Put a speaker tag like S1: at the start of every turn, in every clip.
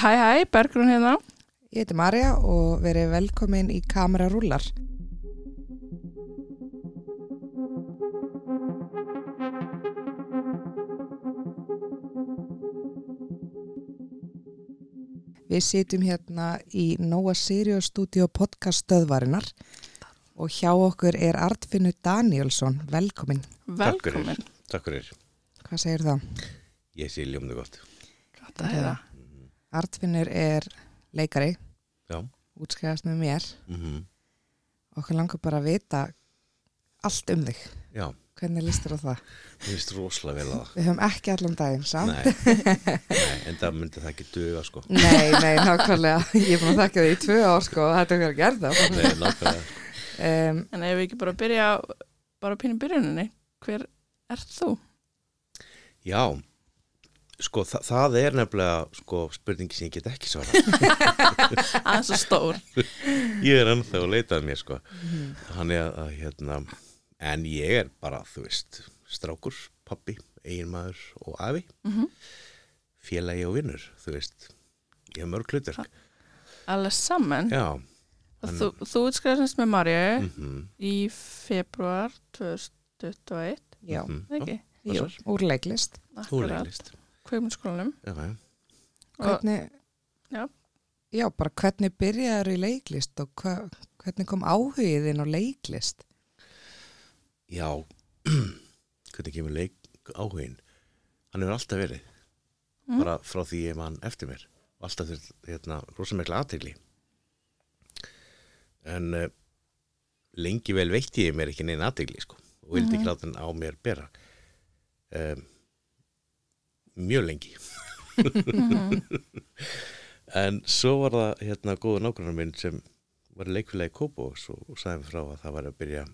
S1: Hæ, hæ, Bergrún hérna.
S2: Ég heiti Marja og verið velkomin í Kamera Rúlar. Við sitjum hérna í Nóa Sirius Studio podcast stöðvarinnar og hjá okkur er Artfinnu Danielsson. Velkomin.
S3: Takk fyrir.
S1: Velkomin.
S3: Takk fyrir.
S2: Hvað segir það?
S3: Ég sé ljómið gott.
S1: Gott að heyra.
S2: Artfinnur er leikari,
S3: Já.
S2: útskæðast með mér.
S3: Mm
S2: Okkur langar bara að vita allt um þig.
S3: Já,
S2: Hvernig listir á það?
S3: mér finnst rosalega vel að það.
S2: Við höfum ekki allan daginn samt.
S3: Nei, nei, en það myndi það ekki duga sko.
S2: Nei, nei, nákvæmlega. Ég er búin að þakka því í tvö ár sko og þetta er hver að gera það.
S3: Nei, nákvæmlega.
S2: Um,
S1: En ef við ekki bara byrja á- bara pínum byrjuninni, hver ert þú?
S3: Já, sko þa það er nefnilega sko spurningi sem ég get ekki svarað.
S1: Aðeins og stór.
S3: Ég er ennþá að leita að mér sko. Hann er að hérna, en ég er bara, þú veist, strákur, pappi, eiginmaður og afi,
S1: Mhm.
S3: félagi og vinnur, þú veist. Ég hef mörg hlutur.
S1: Allir saman.
S3: Já,
S1: Og Þú, þú útskriðast með Marju
S3: mm -hmm.
S1: í februar 2021,
S2: já,
S3: Mhm.
S1: eða ekki?
S3: það
S2: jú,
S3: svar.
S2: úr leiklist.
S3: Þú er leilist.
S1: Kveimundskólanum.
S3: Já, já.
S1: Og
S2: Hvernig,
S1: Já.
S2: já, bara hvernig byrjaður í leiklist og hva, hvernig kom áhugiðin á leiklist?
S3: Já, hvernig kemur leik áhugin? Hann hefur alltaf verið, bara frá því ég mann eftir mér. Og Alltaf þurft, hérna, rosa mikla aðtegli. En uh, lengi vel veitti ég mér ekki neina aðtegli, sko. Og vildi ekki láta hann á mér bera. Um, mjög lengi.
S1: Mhm.
S3: Mhm. en svo var það, hérna, góða nákvæmna minn sem var leikfélagi Kópavóks og, og sagði mér frá að það var að byrja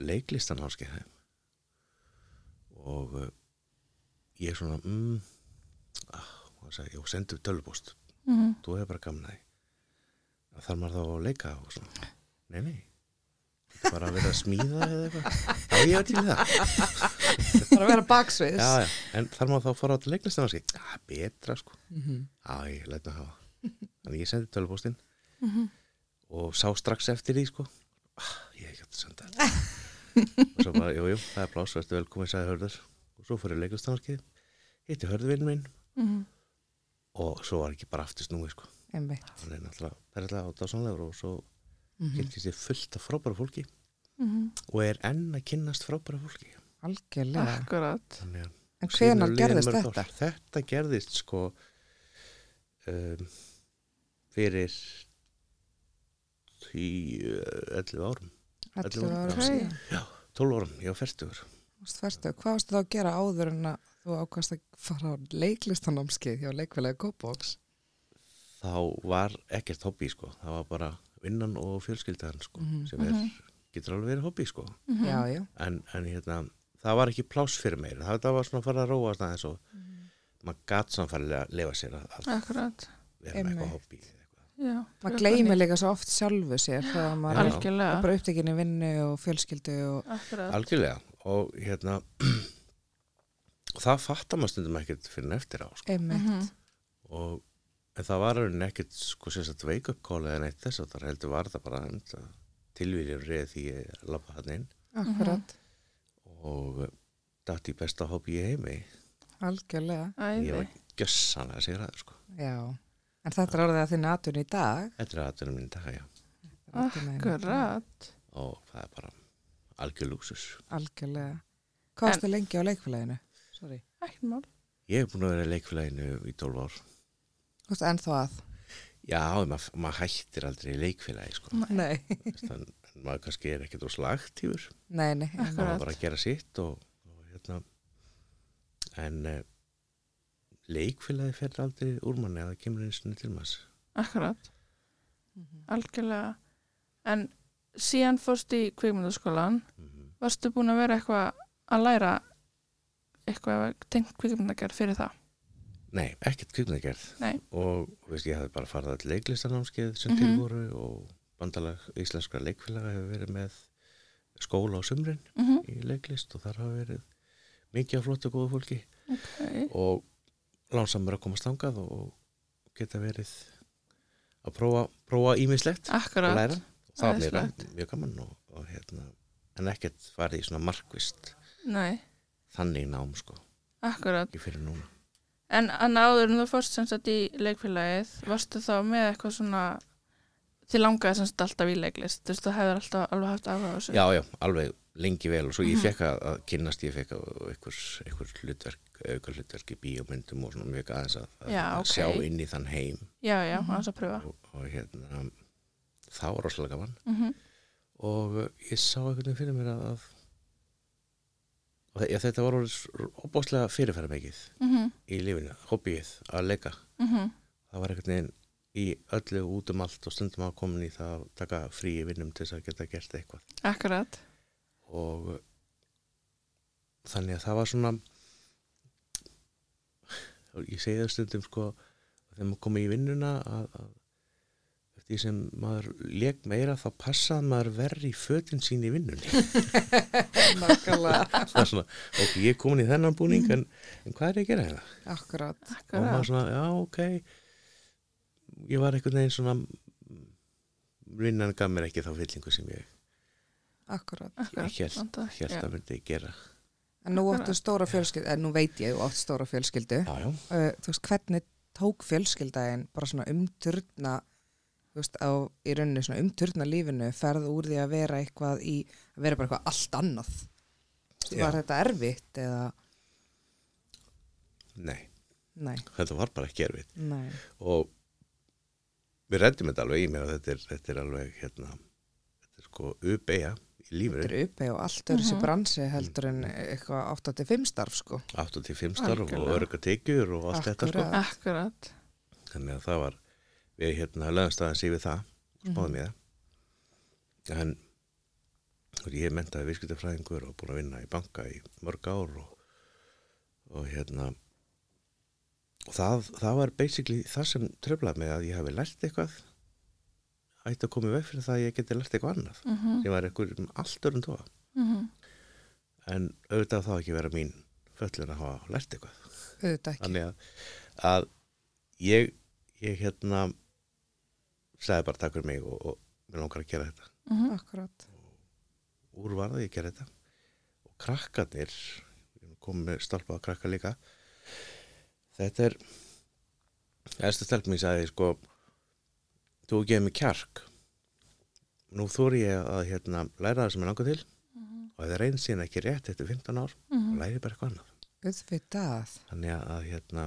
S3: leiklistan áskeið og uh, ég svona mm, ah, og sagði, ég sendi upp tölvupost
S1: Mhm.
S3: þú hefur bara gaman að því að þarf maður þá að leika og svona nei, nei þetta var að vera að smíða eða eitthvað þá ég er til í það
S2: Bara að vera baksviðs.
S3: já, já. en þarf maður þá að fara á leiklistan áskeið ah, betra sko
S2: Mhm.
S3: já, ég læt mig hafa þannig ég sendi tölvupostinn og sá strax eftir því sko ah, ég hef ekki átt að senda þetta. og svo bara, jú, jú, það er pláss verður velkomin, sagði Hörður og svo fyrir leiklustanarkið hitti Hörðurvinn minn
S1: Mhm.
S3: og svo var ekki bara aftur snúið sko
S2: Einmitt. Mhm.
S3: hann er náttúrulega perlega og dásanlegur og svo kynntist ég fullt af frábæra fólki
S1: Mhm.
S3: og er enn að kynnast frábæra fólki
S2: Algjörlega.
S1: akkurat.
S3: þannig að
S2: En
S3: síðan
S2: hvenar
S3: eru liðin
S2: gerðist
S3: Ah, mörg ár.
S2: þetta?
S3: Þetta gerðist sko um, fyrir 10, 11 árum,
S2: 11
S3: 11
S2: ára
S3: ára.
S2: síðan.
S3: 12 árum, ég var færtugur.
S2: Varst fertug. Hvað varstu þá að gera áður en að þú ákvæmst að fara á leiklistanámskið hjá leikfélagi Kópavóks?
S3: Þá var ekkert hobby sko, það var bara vinnan og fjölskyldaðan sko
S2: Mhm.
S3: sem er, getur alveg verið hobby sko.
S1: Mhm.
S2: Já, já.
S3: En, en hérna, það var ekki pláss fyrir meir, það var svona að fara að róa svona eins og
S2: Mhm.
S3: maður gat samfærilega að lefa sér að, að
S1: Akkurat.
S3: vera með
S2: Einmitt.
S3: eitthvað hobby. eða Eitthvað.
S1: Já.
S2: Maður gleymir líka svo oft sjálfu sér þegar maður er
S1: Algjörlega.
S2: bara upptekinn í vinnu og fjölskyldu og
S1: Akkurat.
S3: Algjörlega og hérna og það fattar maður stundum ekkert fyrir en eftir á sko.
S1: Mhm.
S2: einmitt.
S3: og en það var raunin ekkert sko sérstætt wake up call eða neitt þess að það heldur var það bara um, tilvíljum reið því ég lappa hann inn
S1: Mhm.
S2: Akkurat,
S3: og dætt í besta hobby í heimi
S2: algjörlega,
S3: ég
S1: Æði.
S3: var gjössan að segja það sko
S2: já. En þetta er orðið að þinn atun í dag.
S3: þetta er aðtunum mín daga já
S2: Atvinna í dag.
S1: Akkurat.
S3: og það er bara algjör lúksus
S2: Algjörlega. Hvað varstu lengi á leikfélaginu? Sorry.
S1: Ekkert mál.
S3: ég hef búin að vera í leikfélaginu í 12 ár
S2: Þú veist ennþá að?
S3: já, maður maður hættir aldrei í leikfélagi sko
S2: Nei.
S3: þannig að maður kannski er ekkert rosalega aktífur
S2: Nei, nei. einmitt.
S1: Akkurat.
S3: maður var bara að gera sitt og, og hérna en uh, leikfélagi fer aldrei úr manni að það kemur einu sinni til maður
S1: Akkurat.
S2: Mhm.
S1: Algjörlega. En síðan fórst í kvikmyndaskólan,
S3: Mhm.
S1: varstu búin að vera eitthvað að læra eitthvað tengt kvikmyndagerð fyrir það?
S3: nei, ekkert kvikmyndagerð
S1: Nei.
S3: og þú veist, ég hafði bara farið all leiklistanámskeið sem
S1: Mhm.
S3: til voru og bandalag íslenskra leikfélaga hefur verið með skóla á sumrin
S1: Mm -hmm.
S3: í leiklist og þar hafa verið mikið af flottu góðu fólki
S1: Ok.
S3: og lánsamur að komast þangað og geta verið að prófa, prófa ímislegt og
S1: akkurat
S3: læra það
S1: Það
S3: er
S1: er
S3: meira,
S1: slakt.
S3: mjög gaman og, og hérna, en ekkert farið í svona markvist
S1: Nei,
S3: þannig nám sko,
S1: akkurat
S3: ekki fyrir núna
S1: En en áður en þú fórst sem sagt í leikfélagið varstu þá með eitthvað svona þið langaði sem sagt alltaf í leiklist þú veist þú hefur alltaf alveg haft áhuga á þessu
S3: já, já, alveg lengi vel og svo
S1: Mhm.
S3: ég fekk að, að kynnast, ég fekk að einhvers, einhvers hlutverk, auka hlutverk í bíómyndum og svona mjög aðeins að, að,
S1: Já,
S3: að
S1: ok.
S3: sjá inn í þann heim
S1: já, já mm að pröfa
S3: og, og hérna það var rosalega gaman
S1: mm
S3: og uh, ég sá einhvern veginn fyrir mér að, að og þe- já, þetta var opbáslega fyrirfæra mikið
S1: -hmm.
S3: í lífinu, hobbyið að leika
S1: Mm
S3: það var einhvern veginn í öllu út um allt og stundum að komin í það að taka frí í vinnum til þess að geta gert eitthvað
S1: akkurat
S3: og uh, þannig að það var svona og ég segi það stundum sko þegar maður komið í vinnuna að, að eftir því sem maður leik meira þá passaði maður verri í fötin sín í vinnunni
S2: Nákvæmlega,
S3: það er svona, ok, ég er komin í þennan búning en, en hvað er ég að gera hérna?
S2: akkurat.
S3: og maður
S1: akkurat
S3: svona, já, ok ég var einhvern veginn svona vinnan gaf mér ekki þá fyllingu sem ég,
S2: Akkurat.
S1: akkurat,
S3: ég held,
S1: vantaði-
S3: held
S1: Ah, já.
S3: að myndi gera
S2: En nú
S1: Akkurat.
S2: áttu stóra fjölskyldu, en nú veit ég þú átt stóra fjölskyldu.
S3: já, já,
S2: Uh, þú veist, hvernig tók fjölskyldaðin bara svona umturna, þú veist, á, í rauninu svona umturna lífinu, ferð úr því að vera eitthvað í, að vera bara eitthvað allt annað. Þú veist,
S3: Já.
S2: Var þetta erfitt eða,
S3: nei,
S2: nei,
S3: þetta var bara ekki erfitt
S2: nei,
S3: og við reddum þetta alveg í mér og þetta er, þetta er alveg hérna, þetta er sko uppeja í
S2: þetta
S3: lífurinn,
S2: er uppi og allt er þessi
S1: Mhm.
S2: bransi heldur en eitthvað 8-5 starf, sko.
S3: 85 starf og
S1: Algjörlega.
S3: örga tekjur og allt þetta sko,
S2: Akkurat.
S1: akkurat
S3: þannig að það var við hérna lögumst aðeins yfir það
S2: Mhm.
S3: spáðum ég það en og ég er mentaði viðskiptafræðingur og búin að vinna í banka í mörg ár og, og hérna og það, það var basically það sem tröflaði mig að ég hafi lært eitthvað ætti að koma í veg fyrir það að ég geti lært eitthvað annað
S1: mm -hmm.
S3: sem var eitthvað um allt örum tóa
S1: Mhm.
S3: en auðvitað þá ekki vera mín föllun að hafa lært eitthvað
S2: Auðvitað ekki.
S3: þannig að, að ég, ég hérna sagði bara takk fyrir mig og, og mér langar að gera þetta
S2: Akkurat.
S3: úr varði ég gera þetta og krakkarnir komið með stálpa að krakka líka þetta er eftir stelp mér sagði sko þú gefið mér kjark nú þóri ég að hérna, læra það sem ég langar til
S2: Mhm.
S3: og ef það reynir síðan ekki rétt eftir 15 ár þá
S1: Mm.
S3: læri ég bara eitthvað annað
S2: Auðvitað,
S3: þannig að, að hérna,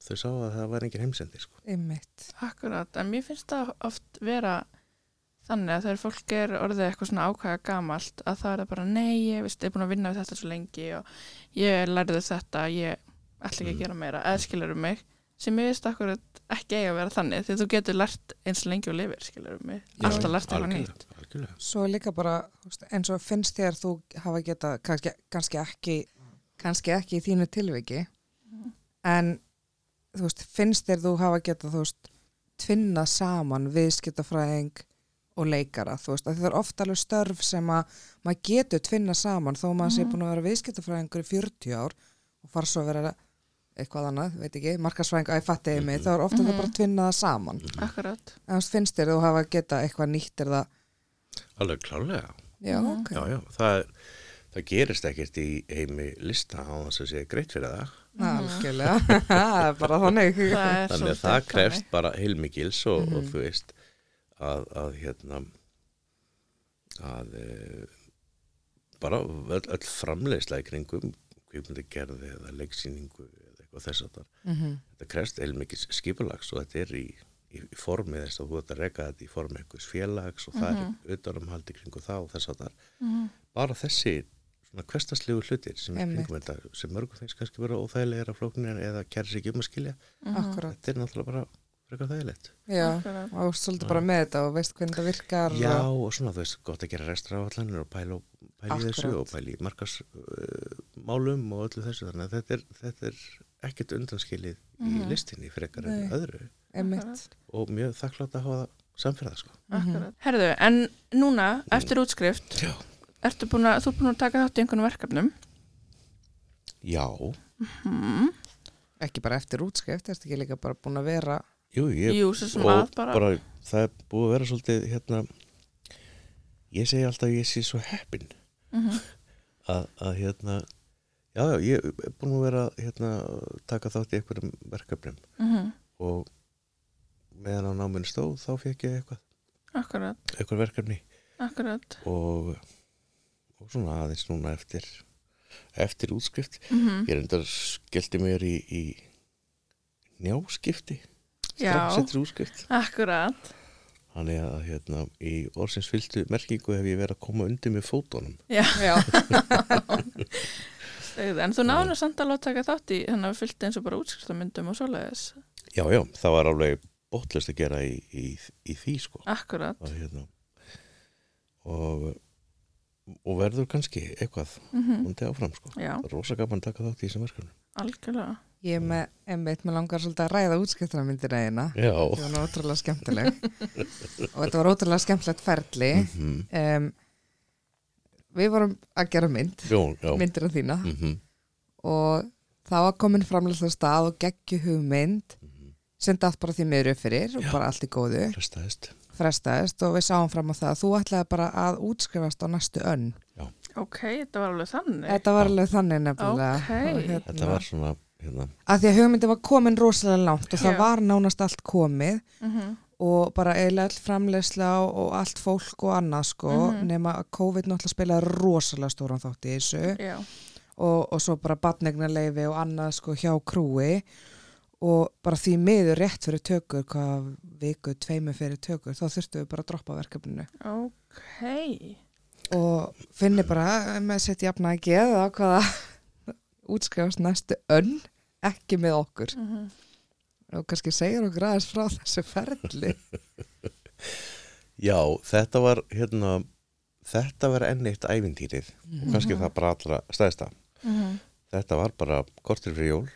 S3: þau sá að það var engin heimsendi sko.
S2: ymmit.
S1: Akkurat, en mér finnst það oft vera þannig að þegar fólk er orðið eitthvað svona ákvæða gamalt að það er það bara nei, ég veist, er búin að vinna við þetta svo lengi og ég lærði þetta, ég ætla ekki að
S3: Mm.
S1: gera meira, eða skilurum mig sem ég veist akkurat ekki eiga að vera þannig því þú getur lært eins lengi og lifir skilurum mig,
S2: Já,
S1: alltaf lært eitthvað
S3: Algjörlega,
S1: nýtt
S3: algjörlega.
S2: Svo er líka bara, þú veist, eins og finnst þér þú hafa geta kannski, kannski ekki kannski ekki í þínu tilviki en þú veist, finnst þér þú hafa geta þú veist, tvinna saman viðskiptafræðing og leikara, þú veist, að það er ofta alveg störf sem að maður getur tvinna saman þó maður sé
S1: Mhm.
S2: búin að vera viðskiptafræðingur í 40 ár og fara svo að vera eitthvað annað, veit ekki, markarsfræðing að ég fatti mm mig, þá er ofta
S1: Mhm.
S2: það bara að tvinna það saman
S1: Akkurat,
S2: en þú veist, finnst þér þú hafa geta eitthvað nýtt er það,
S3: Alveg klárlega.
S2: já,
S1: Mhm.
S2: ok
S3: Já, já, það, er- það gerist ekkert í heimi lista á þess að sé greitt fyrir það.
S2: Mhm.
S1: Mhm.
S2: Algjörlega, það er bara þannig
S1: það er
S3: Þannig að
S1: svolítið
S3: það krefst
S1: þannig.
S3: bara heilmikils og, og
S2: Mhm.
S3: þú veist að, að hérna að e, bara öll, öll framleiðsla í kringum kvikmyndagerði eða leiksýningu eða eitthvað þess að það. Þetta krefst heilmikils skipulags og þetta er í, í, í formi þess að þú ert að reka þetta í formi einhvers félags og það
S1: Mhm.
S3: er utanumhaldi kringu það og þess að það.
S1: Mhm.
S3: bara þessi svona hverstaslegu hlutir sem, er í
S2: Einmitt.
S3: kringum þetta, sem mörgum þeins kannski vera óþægilegar af flóknir eða kæri sig ekki um að skilja
S2: Akkurat,
S3: þetta er náttúrulega bara frekar þægilegt
S2: já
S1: Mhm. Akkurat.
S2: og svolítið bara með þetta og veist hvernig það virkar
S3: já
S2: og,
S3: og svona þú veist gott að gera restráallanir og pæla, pæla í þessu
S2: Akkúrat.
S3: og pæla í markas uh, málum og öllu þessu þannig að þetta er, þetta er ekkert undanskilið
S1: Mhm.
S3: í listinni frekar
S2: Nei.
S3: en öðru
S2: einmitt
S3: og mjög þakklátt að hafa samferða sko.
S2: Mhm.
S1: Akkurat. Herðu, en núna,
S3: Mm.
S1: eftir útskrift
S3: já,
S1: ertu búin að, þú er búin að taka þátt í einhvern verkefnum
S3: já
S1: mm.
S2: ekki bara eftir útskrift, ertu ekki líka bara búin að vera
S3: Jú, ég,
S1: Jú, svo sem
S3: og
S1: að bara-
S3: það er búið að vera svolítið hérna ég segi alltaf að ég sé svo heppin
S1: Mhm,
S3: að, að hérna já, já, ég er búin að vera hérna, taka þátt í einhverjum verkefnum
S1: Mhm.
S3: og meðan á náminn stóð þá fekk ég eitthvað,
S1: Akkurat,
S3: eitthvað verkefni
S1: akkurat
S3: og, og svona aðeins núna eftir eftir útskrift
S1: mm
S3: ég reyndar skellti mér í, í njáskipti
S1: Já,
S3: strax eftir útskrift
S1: akkurat
S3: Þannig að hérna, í orðsins fylgtu merkingu hef ég verið að koma undir með fótunum.
S1: Já,
S2: Já,
S1: segðu. en þú náður samt alveg að taka þátt í þannig að við fylgti eins og bara útskriftamyndum og svoleiðis
S3: Já, já, það var alveg botlust að gera í, í, í því, sko.
S1: Akkurat,
S3: Að, hérna, og, og verður kannski eitthvað
S1: mm
S3: hundi áfram, sko.
S1: já,
S3: Rosa gaman að taka þátt í þessum verkefnum.
S1: algjörlega
S2: ég er með, einmitt, mér langar svolítið að ræða útskiptunarmyndina eina.
S3: Já.
S2: Það var nú ótrúlega skemmtileg. og þetta var ótrúlega skemmtilegt ferli.
S3: Mhm.
S2: Um, við vorum að gera mynd,
S3: Jón, já.
S2: myndir af þína.
S3: Mhm.
S2: og það var komin framlega stað og geggju hugmynd sem datt bara því miður upp fyrir og
S3: Mhm. Já.
S2: bara allt í góðu,
S3: Frestaðist.
S2: frestaðist og við sáum fram á það að þú ætlaði bara að útskrifast á næstu önn.
S1: Ok, þetta var alveg þannig
S2: Þetta var alveg þannig nefnilega.
S1: Ok.
S2: Og hérna,
S3: Þetta var svona, hérna,
S2: Að því að hugmyndi var komin rosalega langt og það
S1: Já.
S2: var nánast allt komið
S1: mm
S2: og bara eiginlega all framleysla og allt fólk og annað sko
S1: Mhm.
S2: nema að COVID náttúrulega spilaði rosalega stóran þátt í þessu.
S1: Já,
S2: og, og svo bara batnegnarleifi og annað sko hjá krúi og bara því miður rétt fyrir tökur hvað viku, tveimu fyrir tökur þá þurftum við bara að droppa verkefninu
S1: ok
S2: og finni bara með að setja jafna að geða hvaða útskrifast næstu önn ekki með okkur
S1: mm
S2: og kannski segir okkur aðeins frá þessu ferli
S3: já, þetta var, hérna, þetta var enn eitt ævintýrið og kannski það bara allra stæðsta.
S1: -hmm.
S3: þetta var bara kortir fyrir jól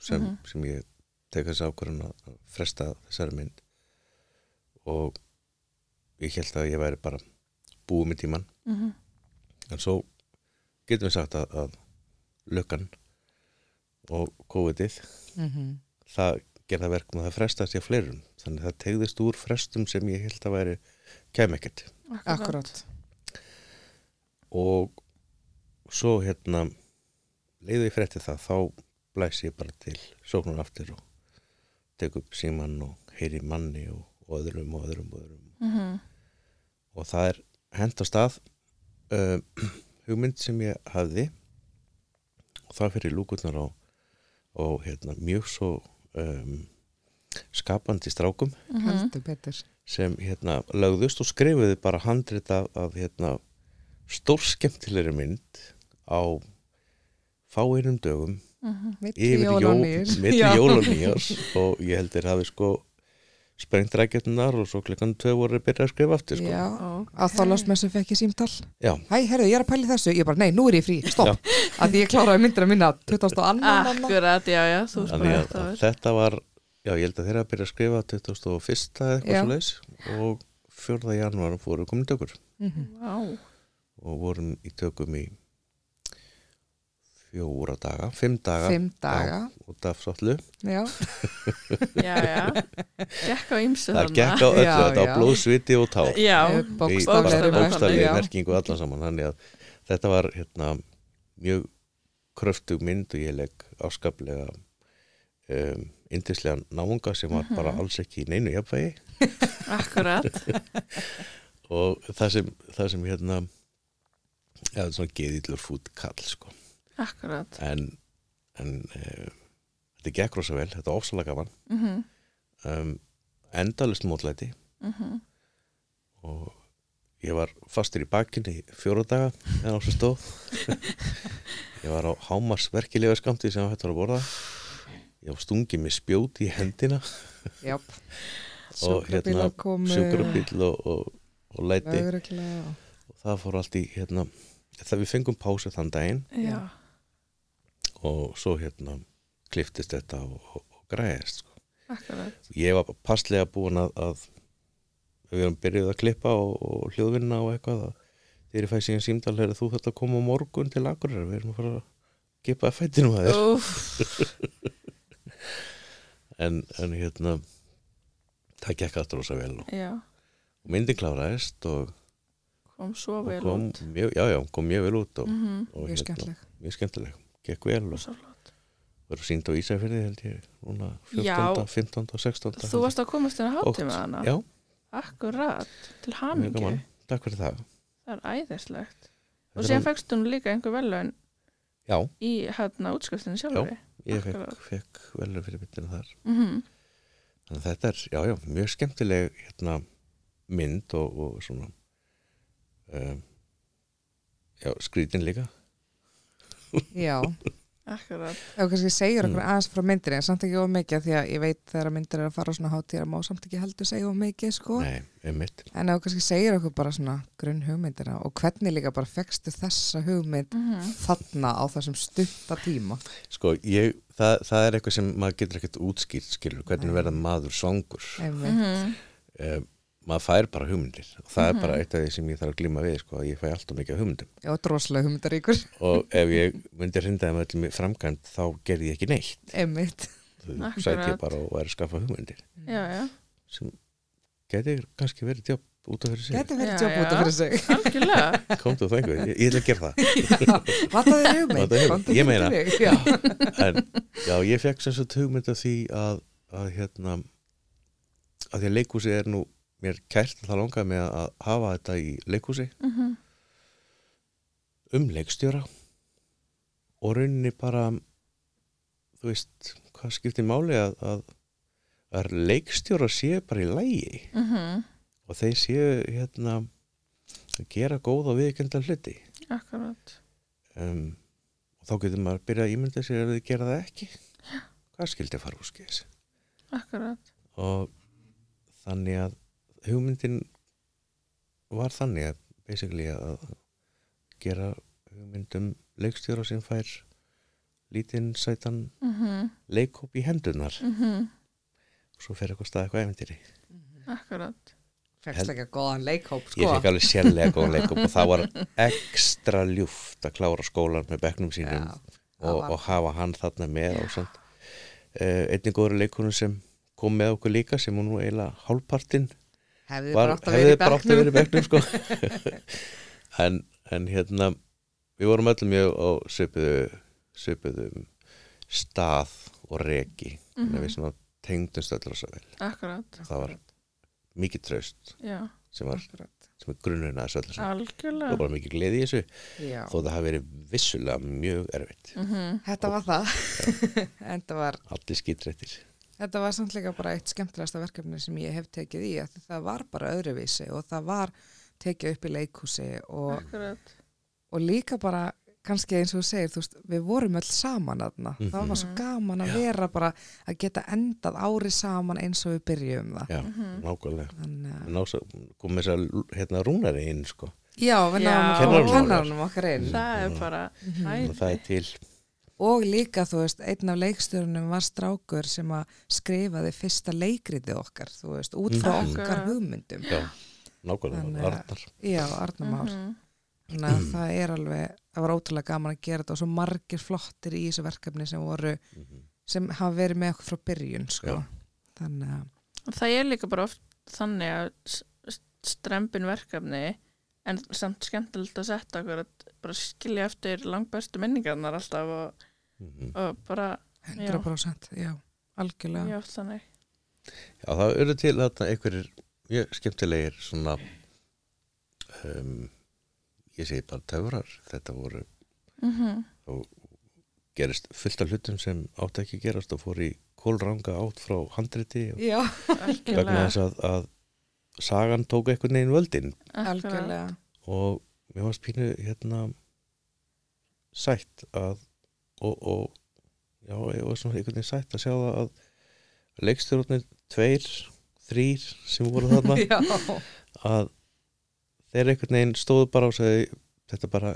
S3: sem,
S1: Mhm.
S3: sem ég tek þessi ákvörðun að fresta þessari mynd og ég held að ég væri bara búið með tíman
S1: Mm -hmm.
S3: en svo getum við sagt að, að lökkan og COVID-ið
S2: mm
S1: Mhm.
S2: -hmm.
S3: það gerða verkum að það frestast ég fleirum þannig að það tegðist úr frestum sem ég held að væri kem ekkert
S2: Akkurat
S3: og svo hérna leiðu ég frétti það þá blæs ég bara til sóknum aftur og tek upp síman og heyri manni og, og öðrum og öðrum og öðrum
S1: mm
S3: og það er hent á stað uh, hugmynd sem ég hafði og það fyrir lúkurnar á, á hérna, mjög svo um, skapandi strákum
S1: mhm.
S2: heldur betur
S3: sem hérna lögðust og skrifuðu bara handrit af, af hérna stórskemmtilegri mynd á fáeinum dögum
S1: Mhm.
S2: Milli
S3: yfir
S2: jól og
S3: jól,
S2: nýjurs.
S3: milli
S2: Já.
S3: jól og nýjars og ég heldur hafi sko sprengt rækjurnar og svo klukkan tvö voru að byrja að skrifa aftur sko.
S2: Já,
S1: Ok.
S2: að þálasmessu fekk ég símtal
S3: Já,
S2: Hæ, herru, ég er að pæli þessu. Ég bara, nei, nú er ég frí, stopp. Af því ég kláraði myndina mína 22.
S1: Ah,
S2: annan.
S1: Akkurat, já, já, þú
S3: þannig
S1: spara
S3: að,
S1: þetta
S3: að
S1: var
S3: þetta var já, ég held að þeirra að byrja að skrifa 21. eða
S2: Já.
S3: eitthvað svo leis og 4. janúar fóru komin tökur
S1: Vá,
S3: og vorum í tökum í fjóra daga, fimm daga
S2: Fimm daga.
S3: út af sollu
S2: Já,
S1: já, já Gekk á ýmsu
S3: það
S1: þarna
S3: gekk á öllu,
S2: Já,
S3: þetta
S2: já.
S3: á blóðsviti og tá
S1: Já,
S2: Eh,
S3: Í
S1: bókstaflegri merkingu,
S3: bókstaflegri
S1: já.
S3: merkingu allan saman þannig að þetta var hérna, mjög kröftug mynd og ég legg áskaplega um, indislega náunga sem var bara
S2: Mhm.
S3: alls ekki í neinu jafnvægi
S1: akkurat
S3: og það sem, það sem hérna ja, svona geðillur fút kall sko.
S1: Akkurat
S3: en, en uh, þetta gekk rosa vel, þetta var ofsalega gaman
S1: mm
S3: um, endalist mótlæti
S1: Mhm.
S3: og ég var fastur í bakinn í fjóra daga en á sem stóð ég var á hámars verkilega skamti sem hættur að borða ég var stungið með spjót í hendina
S2: já.
S3: og hérna
S2: Sjúkrabílar komu.
S3: sjúkrabíl og, og, og læti
S2: lögregla og-
S3: og það fór allt í hérna það við fengum pásu þann daginn
S1: Já,
S3: og svo hérna kliftist þetta og, og, og græðist sko.
S1: akkurat
S3: ég var passlega búin að, að við erum byrjuð að klippa og, og hljóðvinna og eitthvað að þegar ég fæ síðan símdal er þú þetta að koma á morgun til akkurar við erum að fara að gipa að fættinu að þér
S1: Úf,
S3: en, en hérna það gekk allt rosa vel og
S1: já,
S3: og myndin kláraðist og,
S1: kom svo
S3: og
S1: vel
S3: kom
S1: út
S3: mjög, já, já, hún kom mjög vel út og,
S1: mm
S3: og hérna.
S2: mjög skemmtileg
S3: mjög skemmtileg, gekk vel og
S1: svo flott
S3: verður sínd á Ísafirði held ég núna
S1: Já.
S3: 14., 15. og 16.
S1: Þú varst að komast inn á hátíma hana
S3: Já,
S1: Akkurat, til
S3: mjög
S1: hamingju
S3: gaman, takk fyrir það
S1: Það er æðislegt
S3: Þetta
S1: Og
S3: er
S1: síðan
S3: al-
S1: fækst hún líka einhver velun
S3: Já,
S1: í hérna útskriftinu sjálfri
S3: ég fekk,
S1: Akkurat.
S3: fekk velur fyrir myndina þar
S1: mm
S3: Þannig að þetta er, já, já, mjög skemmtileg hérna, mynd og, og svona um, já, skrítin líka
S2: já,
S1: Akkurat,
S2: ef þú kannski segir okkur
S3: Mm.
S2: aðeins frá myndir en samt ekki of mikið af því að ég veit þegar myndir er að fara á svona hátíðar má samt ekki heldur segja of mikið sko
S3: Nei, einmitt
S2: en ef þú kannski segir okkur bara svona grunn hugmyndina og hvernig líka bara fekstu þessa hugmynd
S1: mm
S2: þarna á þessum stutta tíma
S3: Sko, ég, það, það er eitthvað sem maður getur ekkert útskýrt skilur, hvernig
S2: Nei.
S3: verða maður svangur
S1: Mm.
S2: einmitt,
S1: mhm.
S3: um, maður fær bara hugmyndir og það er bara eitt af því sem ég þarf að glíma við sko, að ég fæ alltaf mikið af hugmyndum
S2: já, droslega hugmyndaríkur
S3: og ef ég myndi hrindaði með öllum í framkvæmd þá gerði ég ekki neitt
S2: einmitt,
S3: þú
S1: Akkurat.
S3: sæti ég bara og er að skaffa hugmyndir
S1: Já, já,
S3: sem geti kannski verið jobb út af fyrir sig
S2: geti verið
S1: Já,
S2: jobb út af
S1: já.
S2: fyrir sig
S1: algjörlega
S3: komdu og fengu, ég, ég ætla að gera það
S2: Vataði hugmynd
S3: Vantaði hugmynd.
S2: komdu
S3: Ég
S2: til
S3: meina.
S2: þig. Já.
S3: en já, ég fekk sem sagt hugmynd af því að, að hérna að því að leikhúsi er nú mér kært að það langaði mig að hafa þetta í leikhúsi
S1: mm
S3: um leikstjóra og rauninni bara þú veist, hvað skiptir máli að, að, að leikstjóra séu bara í lægi
S1: mhm.
S3: og þeir séu hérna að gera góð og viðkenda hluti
S1: Akkurat
S3: um, og þá getur maður að byrja að ímynda sér ef þið gera það ekki hvað skildi að fara úr skeis
S1: Akkurat,
S3: og þannig að hugmyndin var þannig að basically að gera hugmyndum leikstjóra sem fær lítinn sætan
S1: mhm,
S3: leikop í hendunar
S1: mhm,
S3: og svo fer eitthvað stað eitthvað efendiri
S1: akkurat
S2: Fékkst ekki að góðan leikhóp sko.
S3: ég fekk alveg sérlega góðan leikop og það var ekstra ljúft að klára skólan með bekknum sínum
S2: Já, það
S3: og,
S2: var-
S3: og hafa hann þarna með og svona uh, einnig góður leikunum sem kom með okkur líka sem hún nú eiginlega hálfpartinn
S2: hefði
S3: var,
S2: bara átt að vera
S3: hefði
S2: í
S3: bara átt að
S2: bekknum
S3: vera í bekknum sko. en, en hérna við vorum öllum mjög á svipuðu, svipuðu stað og reki mm
S1: Mhm.
S3: við svona tengdumst öll rosa vel
S1: Akkurat,
S3: það var mikið traust
S1: já,
S3: sem var
S2: Akkurat.
S3: sem er grunnurinn að þessu öllu saman. það var
S1: algjörlega
S3: bara mikið gleði í þessu
S2: Já.
S3: þó það hafi verið vissulega mjög erfitt
S1: Mhm,
S2: Þetta var það en það var,
S3: allir skitrættir
S2: þetta var samt líka bara eitt skemmtilegasta verkefni sem ég hef tekið í af því það var bara öðruvísi og það var tekið upp í leikhúsi
S3: Mm.
S2: og,
S1: Akkurat,
S2: og líka bara kannski eins og þú segir, þú veist, við vorum öll saman þarna, það var
S3: Mhm.
S2: svo gaman að vera bara að geta endað ári saman eins og við byrjum það
S3: já,
S1: mhm.
S3: nákvæmlega
S2: Þannig að
S3: Ná, kom með þess að hérna rúnari inn sko.
S2: Já, við
S1: Já.
S2: náðum að
S3: Kennaranum
S2: koma
S3: okkar.
S2: kennarunum okkar inn
S1: það er bara
S3: og Mhm. það er
S1: æði
S3: til
S2: og líka, þú veist, einn af leikstjórnum var strákur sem að skrifaði fyrsta leikritið okkar, þú veist, út frá
S3: Mm.
S1: Mhm.
S2: okkar hugmyndum
S3: já, nákvæmlega,
S2: Þannig að-
S3: Arnar
S2: Já, Arnumár
S1: Mhm,
S2: Þannig að það er alveg, það var ótrúlega gaman að gera þetta og svo margir flottir í þessu verkefni sem voru,
S3: Mhm,
S2: sem hafa verið með okkur frá byrjun, sko
S3: Já.
S2: Þannig að,
S1: Og Það er líka bara oft þannig að s- s- strembin verkefni en samt skemmtilegt að setja okkur að bara skilja eftir langbestu minningarnar alltaf og,
S3: Mhm.
S1: og bara,
S2: 100% Já, algjörlega
S1: já, þannig
S3: Já, það eru til þarna einhverjir mjög skemmtilegir svona um, ég segi bara töfrar þetta voru,
S1: Mhm,
S3: gerist fullt af hlutum sem átti ekki að gerast og fór í kólranga átt frá handriti og
S2: Já,
S3: vegna
S1: Algjörlega
S3: þess að, að sagan tók einhvern veginn völdin
S1: Akkurat.
S2: algjörlega
S3: og mér varst pínu hérna sætt að og, og já, ég var svona einhvern veginn sætt að sjá það að leikstjórnir tveir, þrýr sem voru þarna
S2: Já,
S3: að þeir einhvern veginn stóðu bara og segði þetta bara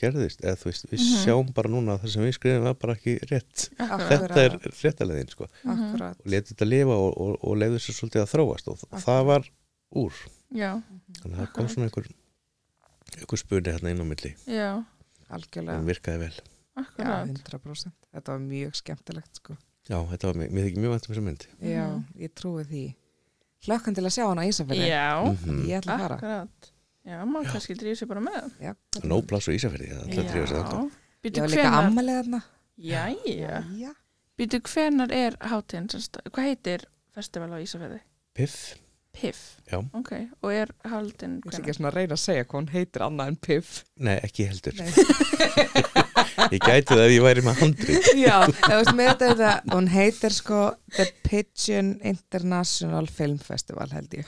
S3: gerðist eða þú veist, við
S1: Mhm.
S3: sjáum bara núna að það sem við skrifum var bara ekki rétt
S2: Akkurat.
S3: þetta er réttalegin sko
S1: Mhm.
S3: og
S2: akkurat
S3: letið þetta lifa og, og, og leiðu þessu svolítið að þróast og það var úr
S1: Já,
S3: þannig að það kom svona einhver einhver spurning hérna inn á milli
S1: já,
S2: Algjörlega
S3: það virkaði vel
S2: Já,
S1: akkurat
S2: 100%. Þetta var mjög skemmtilegt sko.
S3: um já, þetta var mér, mér þykir mjög vantum þessa mynd
S2: Já, ég trúi því. hlökkum til að sjá hana á Ísafirði
S1: Já,
S3: Mhm.
S2: ég ætla að fara
S1: akkurat. Já, maður kannski drýður sér bara með.
S3: Nó pláss og Ísafjörði, það er allir að drífa sig þarna.
S2: ég
S1: Býtu
S2: var líka
S1: hvenar,
S2: ammalið þarna
S1: jæja.
S2: Já.
S1: Býtu hvenar er hátíðin, sem sta- hvað heitir festival á Ísafjörði?
S3: Piff,
S1: Piff,
S3: já,
S1: ok, og er haldin
S2: ég er
S1: hvenær?
S2: ekki svona að reyna að segja hvað hún heitir annað en Piff
S3: nei ekki heldur
S2: Nei.
S3: Ég gæti það ef ég væri með handri
S2: já, það veist með þetta, þetta hún heitir sko The Pigeon International Film Festival held ég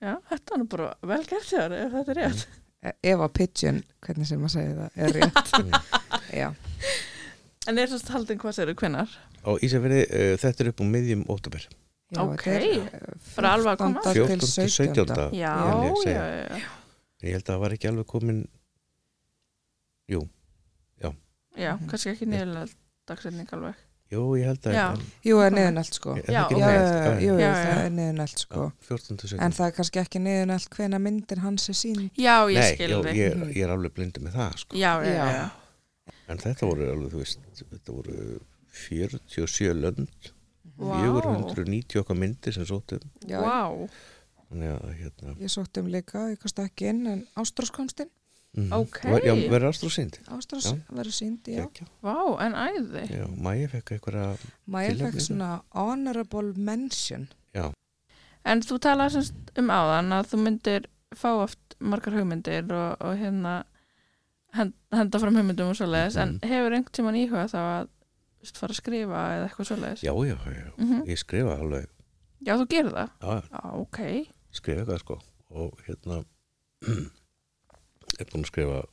S1: Já, þetta er nú bara vel gert þér ef þetta er rétt.
S2: E- Eva Pigeon, hvernig sem maður segir það er rétt
S3: Mm.
S2: já,
S1: En er þess að haldin hvað sér hvenar?
S3: Á Ísafjörði, uh, þetta er upp á miðjum óttubur
S2: já
S1: Ok.
S2: þetta
S1: Bara alveg að koma.
S2: 14.
S3: 14.
S2: til
S1: Já,
S2: 17.
S3: 17.
S1: já,
S3: ég segi.
S1: já, já.
S3: Ég held að það var ekki alveg komin
S1: Já, kannski ekki niðurlega dagsetning alveg.
S3: Jú, ég held að
S1: Já.
S2: jú, er niðun allt sko
S3: Er
S2: já,
S3: það
S1: Já,
S3: ekki
S1: ok.
S2: já,
S3: rétt?
S2: jú,
S1: Já,
S2: það
S1: já.
S2: er niðun allt sko
S3: 14. til
S2: en
S3: 17.
S2: það er kannski ekki niðun allt hvena myndir hans er sín
S1: Já, ég
S3: Nei,
S1: skil
S3: jú,
S1: þig. Mhm.
S3: ég, ég er alveg blindi með það sko.
S1: Já, já, já.
S2: Já.
S3: En þetta voru alveg, þú veist Þetta voru 47 lönd
S1: Vá.
S3: 490 okkar myndir sem sóttum
S2: Já,
S1: Vá.
S3: Þannig að hérna
S2: ég sótti um líka, ég kosti ekki inn en Ástráskomstinn,
S3: mhm.
S1: Ókei.
S3: Var- Já, verður ástrú sínd
S2: Ástrás
S3: Já.
S2: verður sínd já,
S3: Já,
S1: Vá, en æði.
S3: já Mæja fekk eitthvað
S2: maður
S3: Tilefni,
S2: fekk
S3: já.
S2: svona honorable mention
S1: En þú talaði semst um áðan að þú myndir fá oft margar hugmyndir og, og hérna hend, henda fram hugmyndum og svoleiðis
S3: Mhm.
S1: en hefur einhvern tíman íhuga þá að þú veist, fara að skrifa eða eitthvað svoleiðis?
S3: Já, já, já,
S1: Mhm.
S3: ég skrifa alveg
S1: já þú gerir það?
S3: Já, já
S1: Já, ok.
S3: skrifa eitthvað sko og hérna er búin að skrifa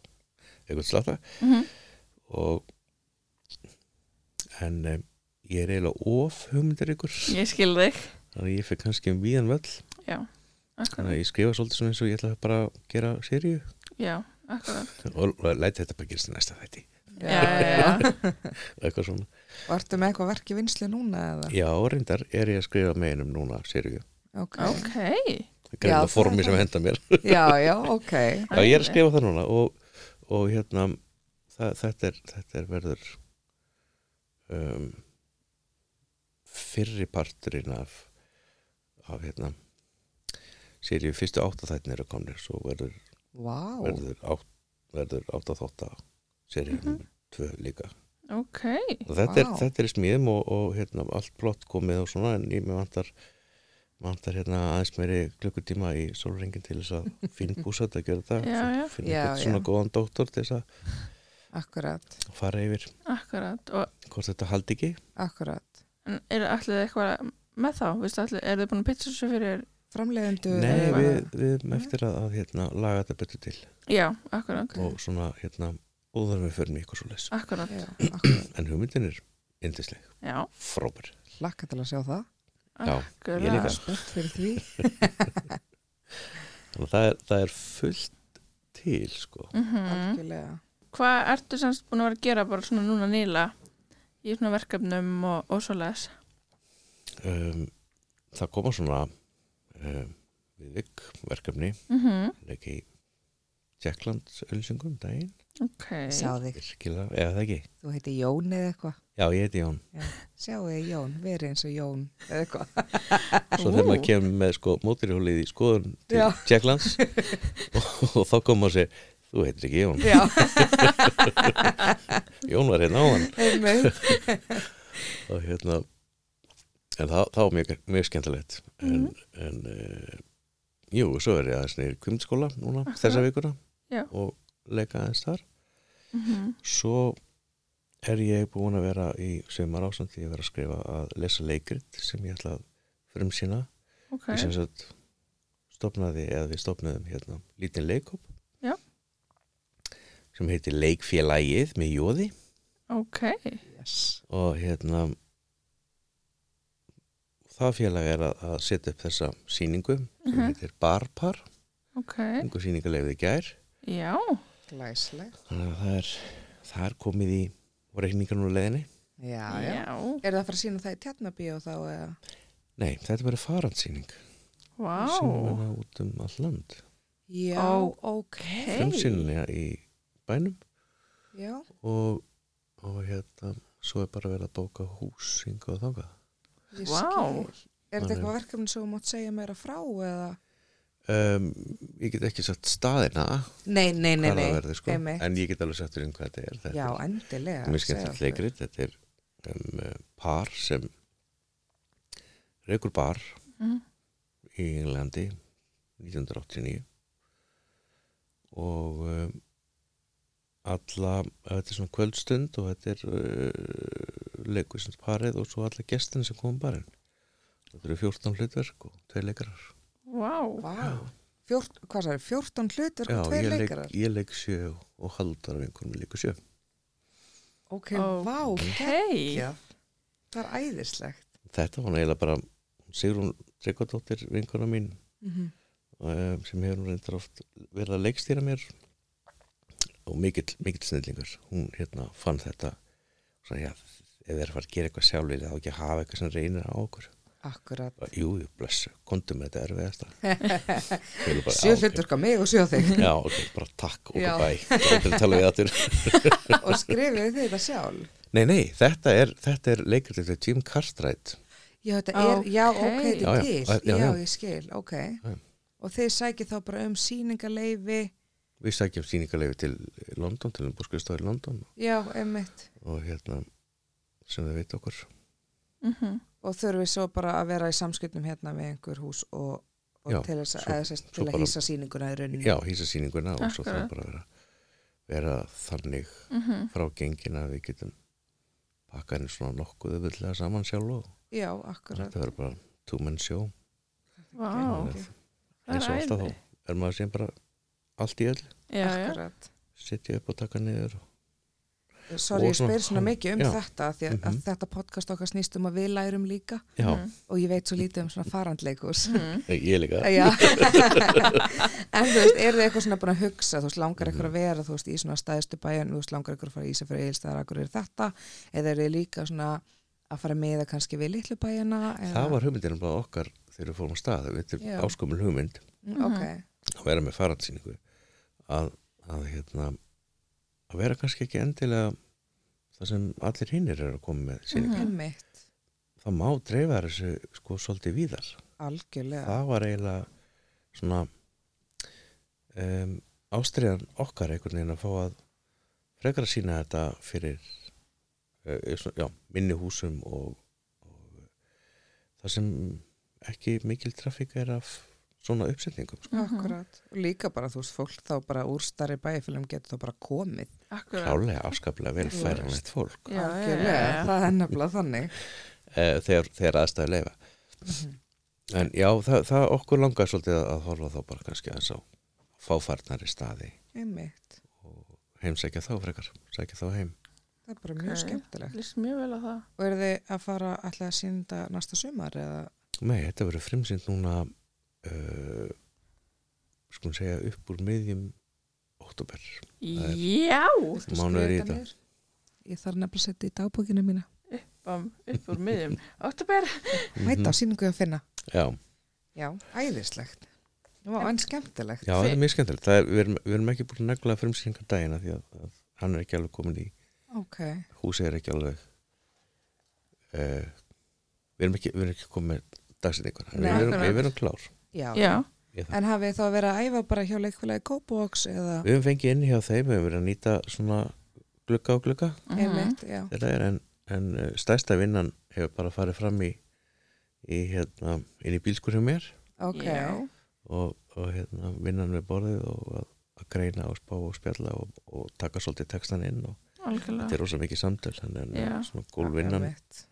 S3: eitthvað slata
S1: Mm
S3: og en um, ég er eiginlega of hugmyndir ykkur
S1: Ég skil þig.
S3: þannig að ég fyrir kannski um víðan völl
S1: Já,
S3: þannig
S1: akkurat.
S3: að ég skrifa svolítið svona eins og ég ætla bara að gera seríu
S1: Já, akkurat.
S3: og læti þetta bara gerist í næsta þætti
S1: Já, já, já.
S3: og eitthvað svona
S2: Vartu með eitthvað verk í vinslu núna eða?
S3: já, reyndar er ég að skrifa meginum núna seríu
S2: Ok.
S1: ok.
S3: það er
S2: það
S3: það formi
S2: er
S3: sem
S2: það.
S3: henda mér
S2: Já, já, ok.
S3: já, ég er að skrifa það núna og, og hérna það, þetta, er, þetta er verður um, fyrri parturinn af, af hérna séri fyrstu áttaþættin eru komnir svo verður,
S2: Vá.
S3: verður, átt, verður áttaþótta séri mm tvö líka
S1: Ok,
S3: og þetta, er,
S2: Vá.
S3: þetta er í smíðum og, og hérna allt blott komið og svona en ég mér vantar vantar hérna aðeins meiri klukkutíma í sólringin til þess að finn búsat að gera þetta
S1: Já, já.
S3: finna
S2: Já,
S3: eitthvað svona
S2: já.
S3: góðan dóttor til þess að
S2: Akkurat,
S3: fara yfir
S1: akkurat. Og
S3: hvort þetta haldi ekki
S2: akkurat.
S1: en eru allir eitthvað með þá? Vistu, allir, eru þið búin að pitcha þessu fyrir?
S2: Framleiðendu.
S3: Nei,
S1: bara-
S3: við, við erum eftir að, að hérna, laga þetta betur til
S1: Já, akkurat.
S3: og svona hérna óðar við förum í eitthvað svo leys
S1: Akkurat,
S2: Já, akkurat.
S3: en hugmyndin er yndisleg,
S1: já.
S3: frópar
S2: Hlakka til að sjá það.
S3: Já,
S1: akkurat.
S3: ég líka.
S2: Spennt fyrir því.
S3: þannig að það er, það er fullt til sko
S1: Mhm.
S2: Algjörlega.
S1: Hvað ertu semst búin að vera að gera bara svona núna nýla í svona verkefnum og, og svo les?
S3: um, það koma svona um, viðvik verkefni
S2: Mhm.
S3: leik í Tjekklands ölsingum um daginn
S1: Ok,
S2: Sjá þig.
S3: virkilega, eða það ekki
S2: Þú heiti Jón eða eitthvað.
S3: já, ég heiti Jón,
S2: Sjáu þig Jón, verið eins og Jón eða eitthvað.
S3: svo
S1: Ú.
S3: þegar maður kemur með sko, mótirhjólið í skoðun til
S2: Já.
S3: Tjekklands og, og þá koma og segir þú heitir ekki Jón,
S2: Já,
S3: Jón var hérna á hann
S2: einmitt.
S3: og hérna en það, það var mjög, mjög skemmtilegt en,
S1: Mhm.
S3: en uh, jú, svo er ég aðeins neyri kvimtskóla núna, þessa vikuna
S1: Já.
S3: og leika aðeins þar
S1: mm
S3: svo er ég búin að vera í sömar ásand því ég vera að skrifa að lesa leikrit sem ég ætla að frumsýna
S1: ok,
S3: ég sem sagt stopnaði eða við stopnaðum hérna lítinn leikop
S1: Já.
S3: sem heitir Leikfélagið með Jóði
S1: ok,
S2: Yes.
S3: og hérna það félag er að, að setja upp þessa sýningu sem
S1: Mhm.
S3: heitir Barpar
S1: ok,
S3: einhver sýningarlegið í gær
S1: já,
S2: Glæslegt.
S3: þannig að það er, það er komið í reyningar nú leðinni
S2: Já, já.
S1: já,
S2: Er það að fara að sína það í tjarnabíu þá eða?
S3: nei, þetta verður farandsýning
S1: vá,
S3: sem verða út um all land
S2: Já,
S1: Ó,
S2: ok.
S3: frumsýnilega í bænum
S2: Já,
S3: og, og hérna svo er bara verið að bóka hús hingað og þangað
S2: ég
S1: Vá.
S2: skil. er þetta
S3: Þannig.
S2: eitthvað verkefni sem þú mátt segja meira frá eða?
S3: um, ég get ekki sagt staðina
S2: Nei, nei, nei,
S3: hvað
S2: nei,
S3: það verður sko
S2: einmitt.
S3: en ég get alveg sagt þér um hvað þetta er þetta
S2: Já,
S3: er
S2: endilega. segðu
S3: mjög skemmtilegt
S2: okkur.
S3: leikrit þetta er um, eh, par sem reykur bar
S1: Mhm.
S3: í Englandi 1989 og um, alla þetta er svona kvöldstund og þetta er uh, leikvisins parið og svo alla gestin sem kom á barinn þetta eru 14 hlutverk og tvei leikarar
S1: Vá,
S2: Vá, Fjórt, hvað það er, 14 hlutur
S3: Já,
S2: og tveir
S3: ég leik,
S2: leikarar?
S3: ég leik sjö og haldar af einhverjum líka sjö
S2: Ok,
S1: Ó,
S2: vá,
S1: hei
S2: geggjað. Það er æðislegt.
S3: þetta var eiginlega bara Sigrún Tryggvadóttir vinkona mín
S2: Mm
S3: um, sem hefur nú reyndar oft verið að leikstýra mér og mikill, mikill snillingur hún hérna fann þetta svona, já, ef það er að fara að gera eitthvað sjálfið þá ekki að hafa eitthvað sem reynir á okkur
S2: Akkurat.
S3: Bara, jú, jú, blessu, komdu með þetta erfiðasta Ég bara,
S2: Sjö
S3: "Já, ok."
S2: hlutur á mig og sjö á þig
S3: já, ok, bara takk og
S2: Já.
S3: bæ þetta er talað við aftur
S2: og skrifið þið þetta sjálf.
S3: nei, nei, þetta er, þetta er leikrit þetta er Jim Cartwright
S2: Já, þetta er, já, ok,
S1: Ókei.
S2: þetta er
S3: Já, já,
S2: til.
S3: já,
S2: Já,
S3: já.
S2: ég skil, ok.
S3: Já.
S2: Og þið sækið þá bara um síningaleifi,
S3: við sækjum síningarlegu til London til umbúrskuðstofi í London
S2: já, emmitt.
S3: og hérna sem þau veit okkur
S1: Mhm.
S2: Og þurfið svo bara að vera í samskiptum hérna við einhver hús og, og
S3: Já,
S2: til, þess,
S3: svo-
S2: svo, eða, sérst,
S3: svo
S2: til að
S3: bara-
S2: hýsa síninguna í rauninni.
S3: já, hýsa síninguna og svo
S1: Mm. Akkurat.
S3: þarf bara að vera, vera þannig
S1: Mhm.
S3: frá gengin að við getum pakka henni svona nokkuð öðvöldlega saman sjálf og
S2: já akkurat.
S3: þetta verður bara two man show
S1: Vá,
S3: Þannig að
S1: það er
S3: eins og alltaf
S1: æði.
S3: þá er maður sem bara allt í öll
S1: Já, já,
S2: akkurat.
S3: sitja upp og taka niður og,
S2: Sorry, ég
S3: Og
S2: spyr
S3: svona-
S2: svona mikið um
S3: Já. Mhm.
S2: þetta því að, að þetta podcast okkar snýst um að við lærum líka
S3: já,
S1: Mhm.
S2: og ég veit svo lítið um svona farandleikus
S1: Mhm.
S3: ég líka
S2: Já, en þú veist, eru þið eitthvað svona búin að hugsa, þú veist, langar ykkur að
S3: Mm.
S2: vera, þú veist, í svona stæðstu bæjan, þú veist, langar ykkur að fara í Ísafjörðu eilstæðar, akkur er þetta, eða eru þið líka svona að fara með að kannski við litlu bæjana? Eða?
S3: það var hugmyndinum bara okkar þegar við fórum á stað þetta
S2: Já.
S3: er áskumul hugmynd
S2: Mm, Ok,
S1: Mhm.
S3: að vera með faransýningu að, að hérna að vera kannski ekki endilega það sem allir hinnir eru að koma með sýningu
S2: Mhm. einmitt,
S3: það má dreifa þessu sko svolítið víðar
S2: algjörlega,
S3: það var eiginlega svona um, ástriðan okkar einhvern veginn að fá að frekar að sína þetta fyrir uh, svona, já, minni húsum og, og það sem ekki mikil trafík er af svona uppsetningum
S1: Mhm.
S3: sko.
S2: akkurat, og líka bara, þú veist, fólk þá bara úr starri bæjafélum getur þá bara komið,
S1: akkurat.
S3: klálega afskaplega vel
S2: Þú
S3: færanlegt fólk
S1: Já, já, já,
S2: algjörlega,
S1: já.
S2: það er nefnilega þannig.
S3: eh, þegar, þegar aðstæðu leifa en já, það, það okkur langar svolítið að horfa þá bara kannski aðeins á fáfarnari staði
S2: Einmitt,
S3: og heimsækja þá frekar sækja þá heim
S2: það er bara
S1: Ok.
S2: mjög skemmtilegt.
S1: Lýst mjög vel á það.
S2: Og eru þið að fara alltaf að sínda næsta sumar eða?
S3: Nei, þetta verður frimsýnd núna uh, skulum segja upp úr miðjum óttúber Það er-
S1: Já,
S2: Viltu
S3: Mánuður
S2: skrifa
S3: í
S2: þetta
S3: þetta.
S2: niður? Ég þarf nefnilega að setja í dagbókina mína.
S1: bam, upp úr miðjum. Óttabær.
S3: Mhm.
S2: Mæta á síningu að finna.
S3: Já,
S2: Já, æðislegt. Nú, en skemmtilegt.
S3: já það er mjög skemmtilegt Það er, við, erum, við erum ekki búin að negla frimsýningar dagina því að, að hann er ekki alveg komin í
S2: Ok,
S3: húsið er ekki alveg uh, við erum ekki, við erum ekki komin með dagsetningar við,
S2: Nei,
S3: erum-
S1: akkurat.
S3: við erum klár
S2: já.
S1: Já,
S3: Ég það.
S2: En hafið þið þá að vera að æfa bara hjá leikfélagi Kópavox eða
S3: Við höfum fengið inn hjá þeim, við höfum verið að nýta svona glugga og glugga
S1: Mhm.
S2: einmitt, já.
S3: þetta er en, en uh, stærsta vinnan hefur bara farið fram í, í hérna, inn í bílskur hjá mér
S2: Ok,
S1: já.
S3: og, og hérna, vinnan við borðið og að, að greina og spá og spjalla og, og taka svolítið textan inn og þetta
S1: algjörlega.
S3: er rosa mikið samtöl þannig að
S1: Já.
S3: svona gólvinnan,
S2: Einmitt.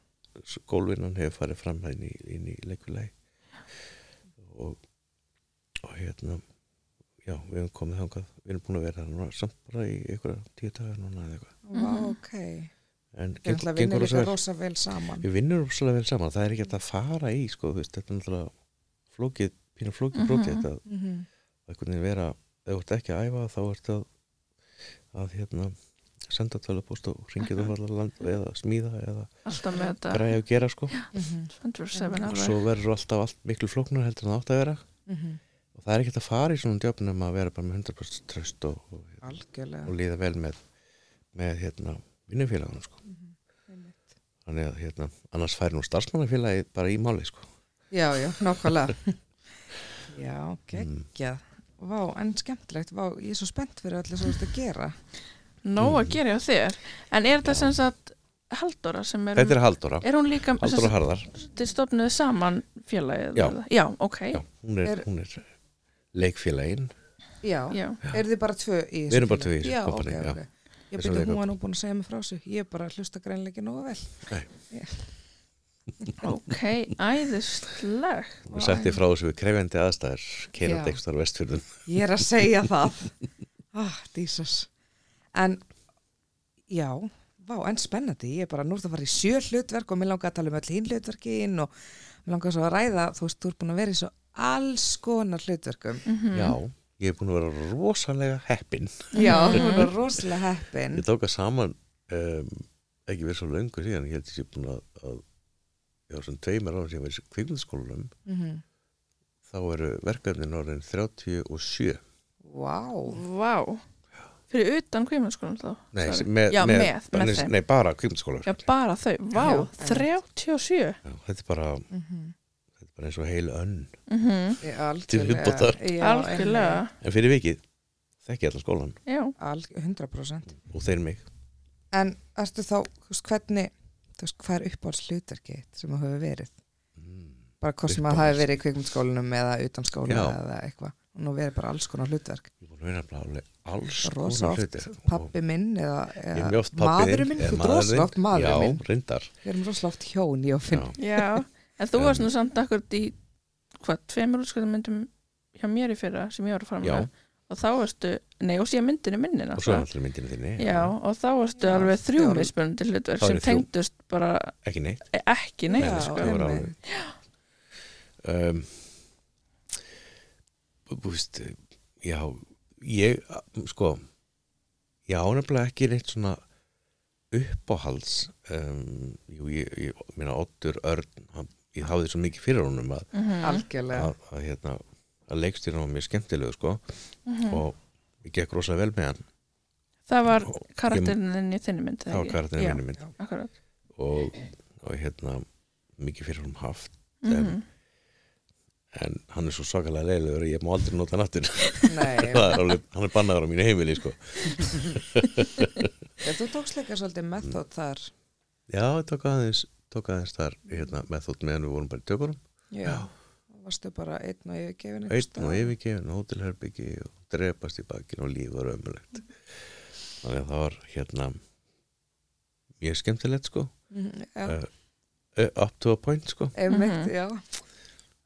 S3: gólvinnan hefur farið fram inn í, inn í leikvilegi og, og hérna já, við höfum komið þangað við erum búin að vera það núna samt bara í einhverja tíu dagar núna eða eitthvað
S2: Vá, ok.
S3: en
S2: Þið ætla að vinna líka rosa vel saman.
S3: Við vinnum rosalega vel saman, það er ekki hægt að fara í sko, þú veist, þetta er náttúrulega flókið, pínu flókið
S1: Mhm.
S3: brotið þetta að
S2: Mhm.
S3: einhvern veginn vera, ef þú ert ekki að æfa þá ert að, að hérna, senda tölupost og ringið um allar land eða smíða eða
S1: Alltaf með þetta.
S3: græja og gera sko
S2: Mhm.
S1: 27
S3: og
S1: alveg.
S3: svo verður alltaf allt miklu flóknar heldur en það átt að vera
S2: Mhm.
S3: og það er ekki hægt að fara í svona djöfnum að vera bara með 100% tröst og, og, og
S2: Algjörlega.
S3: líða vel með, með hérna, vinnufélagunum sko
S2: Einmitt.
S3: þannig að hérna, annars færi nú starfsmannafélagið bara í máli sko
S2: já, já, nákvæmlega já,
S3: Mm.
S2: geggjað vá, en skemmtilegt, vá, ég er svo spennt fyrir allir svo þetta að gera
S1: Nó að gera hjá þér. En er þetta sem sagt Haldóra sem er... um-
S3: Þetta er Haldóra,
S1: Er hún líka...
S3: Haldóra Harðar
S1: Þið stofnuðu saman félagið?
S3: Já.
S1: eða? Já, ok.
S3: Já, hún er,
S2: Er-
S3: hún er leikfélagin
S2: já,
S1: Já.
S2: eru þið bara tvö í
S3: Við erum bara tvö í þessu
S2: já,
S3: kompani,
S2: ok,
S3: já.
S2: ok Ég
S3: Þessu
S2: byrja,
S3: leikhóp.
S2: hún var nú búin að segja mig frá þessu, ég bara hlusta greinleiki nógu vel.
S1: Ok, æðisleg.
S3: og setti frá þessu við krefjandi aðstæður keirandi
S2: Já.
S3: ekstar vestfjörðum
S2: Ég er að segja það. Ah, dísas. En, já, vá, en spennandi. Ég er bara, nú ert að fara í sjö hlutverk og mér langar að tala um öll hinn hlutverkin og mér langar svo að ræða, þú veist, þú ert búin að vera í svo alls konar hlutverkum.
S1: Mm. Mhm.
S3: Já, ég er búin að vera rosalega heppin
S2: Já, þú er rosalega heppin.
S3: Ég tók að saman um, ekki verið svo löngu síðan ég held ég sé búin að, að já, svona tveimur árum síðan verið í kvikmyndaskólanum
S2: Mm -hmm.
S3: þá eru verkefnin orðin 37
S2: Vá.
S1: Vá. Fyrir utan kvímanskólan þá?
S3: Nei,
S1: sagði.
S3: með,
S1: Já, með,
S3: með,
S1: með þeim.
S3: nei bara kvikmyndaskóla
S1: Já, bara þau. Vá,
S2: Já, einmitt.
S1: 37.
S3: Já, þetta er bara,
S2: Mm -hmm.
S3: þetta er bara eins og heil önn
S1: Mm
S3: Til viðbótar.
S1: Algjörlega.
S3: en fyrir vikið þekki ég allan skólan
S1: Já.
S2: Alg, 100%.
S3: og þeir mig
S2: En ertu þá, þú veist, hvernig, þú veist, hvað er uppáhalds hlutverkið þitt sem þú hefur verið? Bara hvort sem að það
S3: Uppáhalds?
S2: hefur verið í kvikmyndskólanum eða utan skóla
S3: Já.
S2: eða eitthvað. Og nú verið bara alls konar hlutverk.
S3: ég er búin að vera bara alveg alls
S2: Rosa
S3: konar
S2: oft
S3: hluti
S2: pappi minn eða,
S3: ég er
S2: eða
S3: mjög oft pappi
S2: maðurinn minn, þú ert rosalega oft maðurinn minn.
S3: já, reyndar
S2: Við erum rosalega oft hjón, ég og
S3: já,
S2: finn.
S1: Já, en þú
S3: En-
S1: varst nú samt akkurat í hvað, tveimur útskjöldamyndum hjá mér í fyrra sem ég var að fara
S3: já,
S1: með og þá varstu, nei og síðan myndinu minni
S3: og svo er
S1: náttúrulega.
S3: allir myndinu þinni
S1: Já, og þá varstu
S2: Já,
S1: alveg þrjú
S2: fjórum.
S1: mismunandi hlutverk
S3: Þá
S1: sem
S3: eru þrjú.
S1: tengdust bara
S3: ekki neitt
S1: e- ekki neitt
S3: Nei,
S1: sko.
S3: það var
S2: einmitt.
S3: alveg um, þú veist já, ég sko, ég á nefnilega ekki neitt svona uppáhalds um, jú, ég, ég minna Oddur Örn hann, ég hafði svo mikið fyrir honum að,
S1: Mhm,
S2: Algjörlega.
S3: að, að, hérna, að leikstýrna var mjög skemmtilegu sko
S1: mhm.
S3: og ég gekk rosalega vel með hann
S1: Það var
S3: og ég-
S1: karakterinn þinn í þinni mynd
S3: það var karakterinn vinnu minn
S2: Já.
S1: Akkurat
S3: og, og hérna mikið fyrir honum haft
S1: Mhm.
S3: en hann er svo svakalega leiðilegur ég má aldrei nota hann aftur
S2: Nei,
S3: Það er alveg, hann er bannaður á mínu heimili sko.
S2: ég, þú tókst líka svolítið method þar.
S3: já, ég tók aðeins, tók aðeins þar hérna, með þótt meðan við vorum bara í tökunum
S2: Já. Varstu bara einn og yfirgefin. einhvers
S3: einn og
S2: staðar?
S3: yfirgefin, hótelherbyggi og drepast í bakkinu og líf var ömulegt þannig að það var hérna mjög skemmtilegt sko
S2: Mhm,
S3: Eh,
S2: Já,
S3: eh, up to a point sko
S2: einmitt,
S1: Mhm.
S2: já.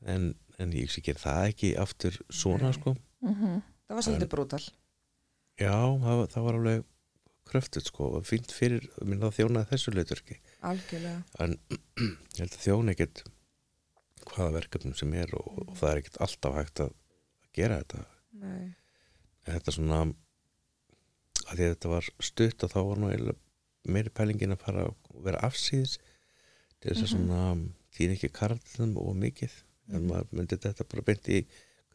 S3: en, en ég sé ger það ekki aftur
S2: Nei.
S3: svona sko
S1: Mhm.
S2: Það var svolítið brútal.
S3: já, það, var- það var alveg kröftut sko og fínt fyrir, minn það þjónaði þessu leiturki
S2: Algjörlega.
S3: en ég held að þjóna ekkert hvaða verkefnum sem er og, og það er ekkert alltaf hægt að gera þetta
S2: Nei.
S3: En þetta er svona að því að þetta var stutt og þá var nú eiginlega meiri pælingin að fara og vera afsýðis til
S2: Mhm.
S3: þess að svona þýr ekki karlum og mikið en maður myndi þetta bara beint í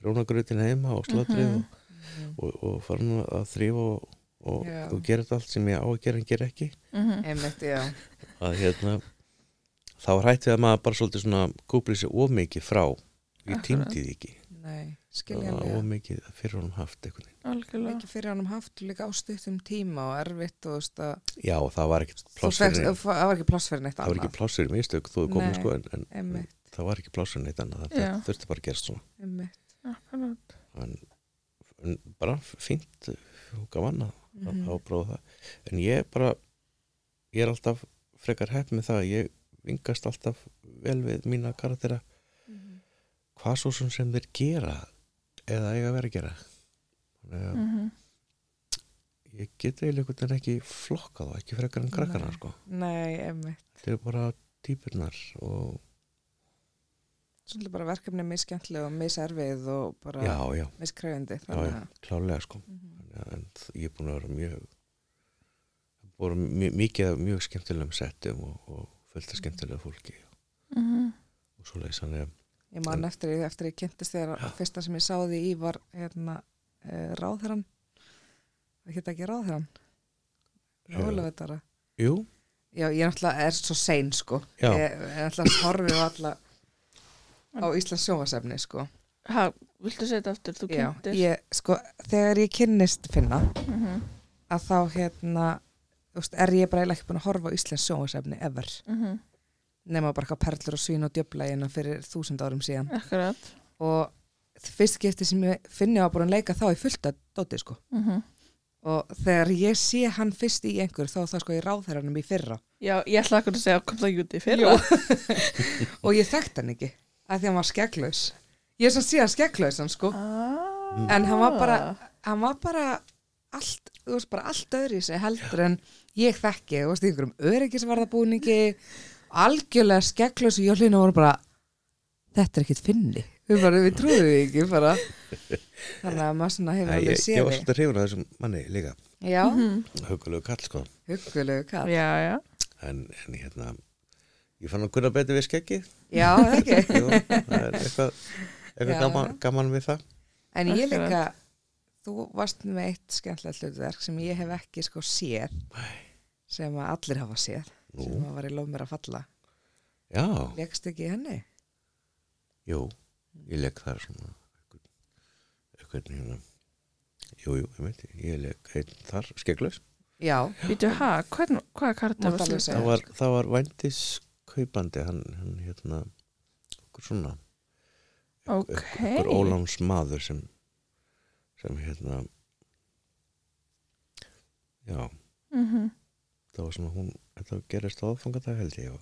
S3: grónagrötin heima og slatrið
S2: Mhm.
S3: og, og, og fara nú að þrýfa og, og,
S2: Já.
S3: og gera þetta allt sem ég á að gera en gera ekki
S1: Mhm.
S2: Einmitt, já.
S3: að hérna þá var hætt við að maður bara svolítið svona kúplið sér of mikið frá ég
S1: Akkurat.
S3: týndi því ekki
S2: Nei,
S3: Það var
S2: skiljanlega.
S3: of mikið fyrir honum haft einhvern veginn
S1: Algjörlega
S2: Mikið fyrir honum haft líka á stuttum tíma og erfitt og þú veist að
S3: já það var ekkert
S2: þú
S3: pláss fyrir
S2: fegst,
S3: neitt-
S2: það var ekki pláss fyrir neitt
S3: það var
S2: annað.
S3: ekki pláss fyrir mistök þú er komin
S2: Nei,
S3: sko en, en
S2: Einmitt,
S3: það var ekki pláss fyrir neitt annað það
S1: Já.
S3: þetta þurfti bara að gerast svona
S2: einmitt.
S1: Akkurat.
S3: en, en bara fínt eh, og gaman að
S2: Mm
S3: mm. ábróða það en ég bara ég er alltaf frekar hepp með það ég vingast alltaf vel við mína karatera hvað svo sem sem þeir gera eða eiga að vera að gera þannig
S2: Mm.
S3: að
S1: Mhm.
S3: ég get eiginlega einhvern veginn ekki flokkað og ekki frekar en krakkana
S2: Nei.
S3: sko.
S2: Nei, einmitt.
S3: þetta eru bara típurnar og
S2: Svolítið bara verkefni miskemmtleg og miserfið og
S3: já,
S2: bara
S3: já,
S2: miskrefindi.
S3: já, já,
S2: Þannig
S3: klálega sko.
S2: að
S3: Þannig að- en þ- ég er búin að vera mjög búin mjög, mikið af mjög skemmtilegum settum og, og fullt af skemmtilega fólki
S1: Mhm.
S3: og svo leiðis hann
S2: ég man eftir því eftir ég kynntist þér að fyrsta sem ég sáði í var hérna uh, ráðherran. Það geta ekki ráðherran.
S3: Já.
S2: Rólavetara.
S3: jú,
S2: Já, ég náttúrulega er svo sein sko.
S3: Já.
S2: Ég, ég náttúrulega horfið á alla á Íslands sjónvasefni sko.
S1: ha, viltu segja þetta aftur, þú
S2: Já,
S1: kynntir
S2: ég, sko, þegar ég kynnist finna
S1: Mhm,
S2: að þá hérna þú veist, er ég bara eiginlega ekki búin að horfa á Íslands sjónvasefni ever
S1: mhm,
S2: nema bara eitthvað perlur og svín og djöfla hérna fyrir þúsund árum síðan
S1: akkurat
S2: og fyrst skipti sem ég finni á búin að leika þá í fullt að dóti sko
S1: mhm.
S2: og þegar ég sé hann fyrst í einhver þá er það sko í ráðherranum í fyrra
S1: Já, ég ætla akkur að segja kom það júti fyrir
S2: Jú. og ég þekkt hann ekki að því hann var skegglaus ég er svo síðan skegglaus hann sko
S1: ah,
S2: en hann var bara, hann var bara allt, þú veist, bara allt öðru í sig heldur en ég þekki þú veist, í einhverjum öryggisvarðabúningi algjörlega skegglaus og jólinu voru bara þetta er ekkit finni við bara, við trúðum því ekki bara þannig að maður svona hefur
S3: Æ, ég,
S2: alveg
S3: ég
S2: séð
S3: var
S2: þig
S3: svolítið hrifun af þessum manni líka
S2: já,
S1: Mhm.
S3: hugulegu kall sko
S2: huggulegu kall
S1: Já, já,
S3: en, en hérna ég fann að kunna betur við skeggi
S2: já, það ekki
S3: Jú, það er eitthvað,
S2: Já.
S3: eitthvað gaman, gaman við það
S2: En ég
S1: Akkurat.
S2: líka, þú varst með eitt skemmtilegt hlutverk sem ég hef ekki sko séð, sem að allir hafa séð,
S3: Nú.
S2: sem að var í lof mér að falla.
S3: já,
S2: Lekst ekki í henni?
S3: jú, ég legg það svona eitthvað, eitthvað hérna jú, jú, ég veit, ég legg einn þar skegglaus
S2: Já,
S1: býtu ha, hvern, hvaða karta
S2: Máttu
S1: var
S2: alveg
S1: slúta?
S2: segja.
S3: það var, það var vændis kaupandi hann, hann hérna okkur svona,
S1: Ok,
S3: okkur óláns maður sem sem hérna já
S1: Mhm,
S3: það var svona hún, þetta gerist á aðfangadag held ég og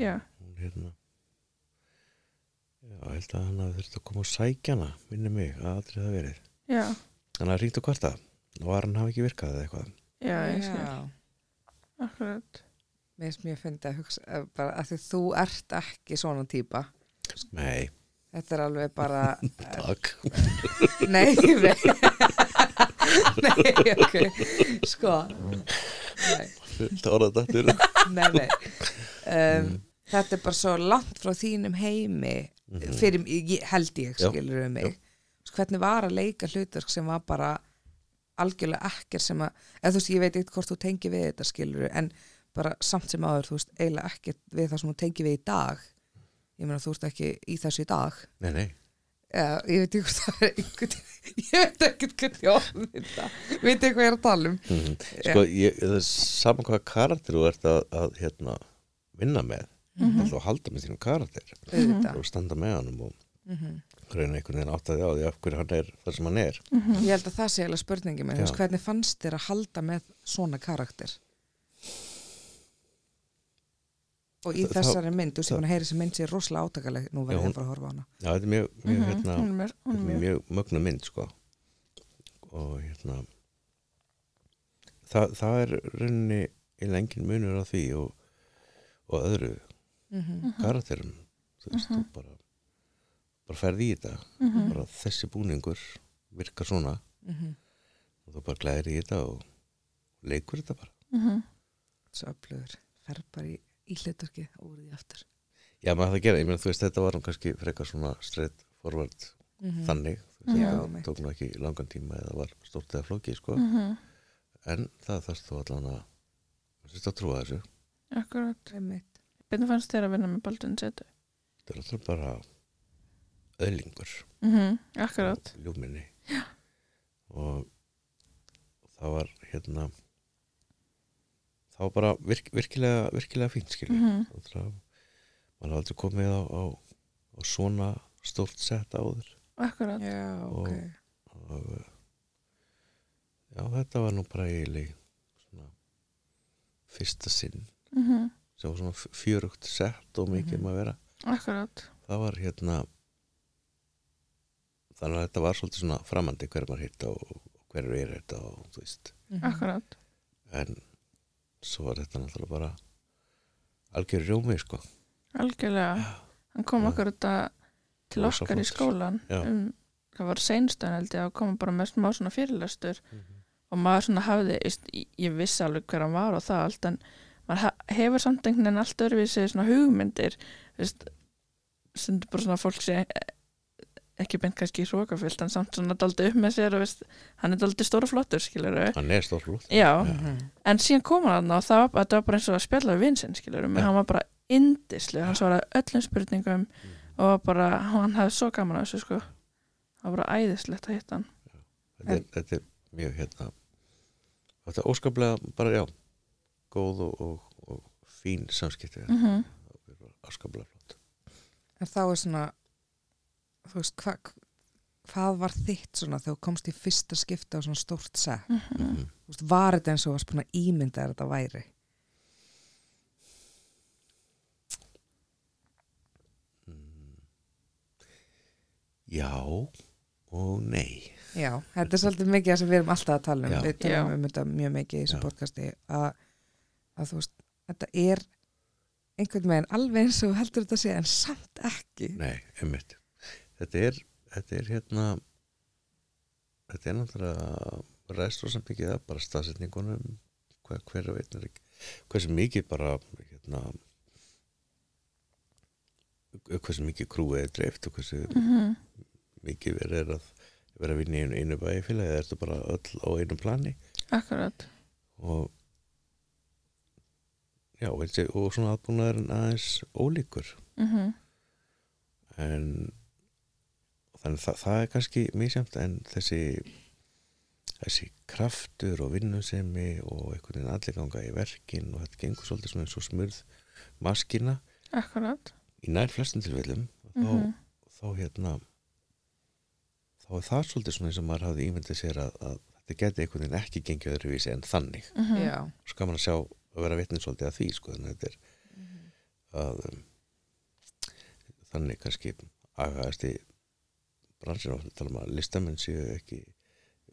S1: já,
S3: hún hérna já, held að hann hafði þurft að koma og sækja hana minni mig, að aldrei það verið
S1: já,
S3: hann hafði ringt og kvarta og var hann hafi ekki virkað eða eitthvað
S1: já, ég skil,
S2: já.
S1: akkurat
S2: Mér finnst mjög fyndi að hugsa, eh, bara að því þú ert ekki svona típa.
S3: nei,
S2: Þetta er alveg bara,
S3: takk
S2: nei, nei, nei, ok, sko, nei,
S3: tóra dættur
S2: nei, nei. Um, þetta er bara svo langt frá þínum heimi
S3: Mhm.
S2: fyrir, ég, held ég
S3: Já,
S2: skilur um
S3: já.
S2: mig Þú veist, hvernig var að leika hlutverk sem var bara algjörlega ekkert sem að eða þú veist, ég veit eitthvað hvort þú tengi við þetta skilur en bara samt sem áður þú veist, eiginlega ekkert við það sem þú tengi við í dag ég meina þú veist ekki í þessu í dag
S3: nei, nei,
S2: eða, ég veit ekki hvort það er einhvern ég veit ekki hvernig ég orðið þetta veit ekki hvað ég er að tala um
S3: Mhm. sko, ég, það er saman hvaða karakter þú ert að, að hérna, vinna með mm
S2: Mhm.
S3: -hmm. að halda með þínum karakter
S2: auðvitað, Mhm.
S3: og standa með honum og reyna einhvern veginn áttaði á því af hverju hann er það sem hann er
S1: Mhm.
S2: ég held að það sé eiginlega spurningi mér, þú veist,
S3: Já.
S2: hvernig fannst þér að halda með svona karakter og í
S3: Þa- þá-
S2: þessari mynd, þú veist, ég
S3: það-
S2: búin að heyra þessi mynd sér rosalega átakaleg, nú
S3: Já,
S2: verður
S3: hún-
S2: ég bara að horfa á hana
S3: já, þetta er mjög,
S1: Mhm,
S3: mjög hérna,
S1: Hún er mér, hún er
S3: þetta er
S1: mér
S3: mjög mögnu mynd sko og hérna það, það er rauninni í lengin munur á því og, og öðru Mhm. karakterum þú veist, þú bara bara ferði í þetta
S1: Mhm.
S3: bara þessi búningur virkar svona
S2: Mhm.
S3: og þú bara glæðir í þetta og leikur þetta bara
S1: Mhm.
S2: svo öflugur, fer bara í, í hluturki og úr því aftur
S3: já, maður það að gera, ég meina þú veist, þetta var nú kannski frekar svona straight forward þannig, þú veist,
S2: Mhm. Já,
S3: þetta
S2: mitt.
S3: tók nú ekki langan tíma eða var stórt eða flóki, sko
S1: Mhm,
S3: en það þarfst þú allan að þú þarfst að trúa þessu
S1: Akkurat,
S2: Einmitt.
S1: hvernig fannst þér að vinna með Baldun Setu?
S3: þetta er alltaf bara öðlingur
S1: Mhm, Akkurat,
S3: og ljúfminni og það var hérna það var bara virk, virkilega virkilega fínt skilur mm
S1: Mhm.
S3: -hmm. maður hafði aldrei komið á, á, á svona stórt sett áður
S1: akkurat
S2: já, ok
S3: Og- og eh, já, þetta var nú bara eiginlega svona fyrsta sinn
S1: mhm,
S3: sem var svona f- fjörugt sett og mikið um að vera
S1: Akkurat,
S3: það var hérna þannig að þetta var svolítið svona framandi hver maður hitta og og hver er þetta og þú veist
S2: Mhm.
S1: akkurat
S3: en svo var þetta náttúrulega bara algjör rjómi sko
S1: Algjörlega, hann kom
S3: Já.
S1: okkur þetta til
S3: Rosa
S1: okkar í
S3: flottur.
S1: skólan
S3: Já.
S1: um, það var seinstæðan held ég að koma bara með smá svona fyrirlestur og maður svona hafði, veist, ég- ég vissi alveg hver hann var og það allt en maður ha- hefur samt einhvern veginn allt öðruvísi svona hugmyndir veist, stundur bara svona fólk sé eh, ekki beint kannski hrókafyllt en samt svona daldi upp með sér og veist, hann er daldi stóra flottur skilur
S3: hann er stór flott
S1: Já,
S2: Mhm.
S1: en síðan kom hann þarna og það var, þetta var bara eins og að spjalla við vinsinn skilur um,
S3: Já. Mm.
S1: hann var bara indislu, hann svaraði öllum spurningum og bara, hann hafði svo gaman af þessu sko það var bara æðislegt að hitta hann
S3: þetta er, þetta er mjög hérna þetta er óskaplega bara já góð og, og, og fín samskipti mm.
S1: mm
S3: óskaplega flott
S2: En þá er svona, þú veist, hva, hvað var þitt svona þegar þú komst í fyrsta skipta á svona stórt sett?
S3: mm
S1: mhm,
S2: Þú veist, var þetta eins og varst búin að ímynda þér að þetta væri?
S3: Mhm. já og nei
S2: Já, þetta er svolítið mikið það sem við erum alltaf að tala um.
S3: Já.
S2: Við tölum
S1: Já.
S2: um þetta mjög mikið í þessu
S3: Já.
S2: podcasti að, að þú veist, þetta er einhvern veginn alveg eins og þú heldur þetta sé en samt ekki.
S3: nei, einmitt þetta er, þetta er hérna þetta er náttúrulega ræðst rosa mikið að bara staðsetningunum hver, hver veit er ekki hversu mikið bara hérna hversu mikið krúið er dreift og hversu
S1: mhm.
S3: mikið verið er að vera að vinna í einu- einu bæfélagi eða ertu bara öll á einu plani
S1: akkurat
S3: og já, og, þessi- og svona aðbúnaður aðeins ólíkur
S1: mm
S3: en þannig það, það er kannski misjæmt en þessi þessi kraftur og vinnusemi og einhvern veginn allir ganga í verkin og þetta gengur svolítið svona eins og smurð maskina
S1: akkurat
S3: í nær flestum tilfellum þá,
S1: mm -hmm.
S3: þá hérna þá er það svolítið svona eins og maður hafði ímyndið sér að, að þetta geti einhvern veginn ekki gengið öðruvísi en þannig
S1: mhm,
S2: Já.
S3: svo gaman að sjá að vera vitni svolítið að því sko, þannig að þetta er að um, þannig kannski agaðasti bransin og tala um að listamenn séu ekki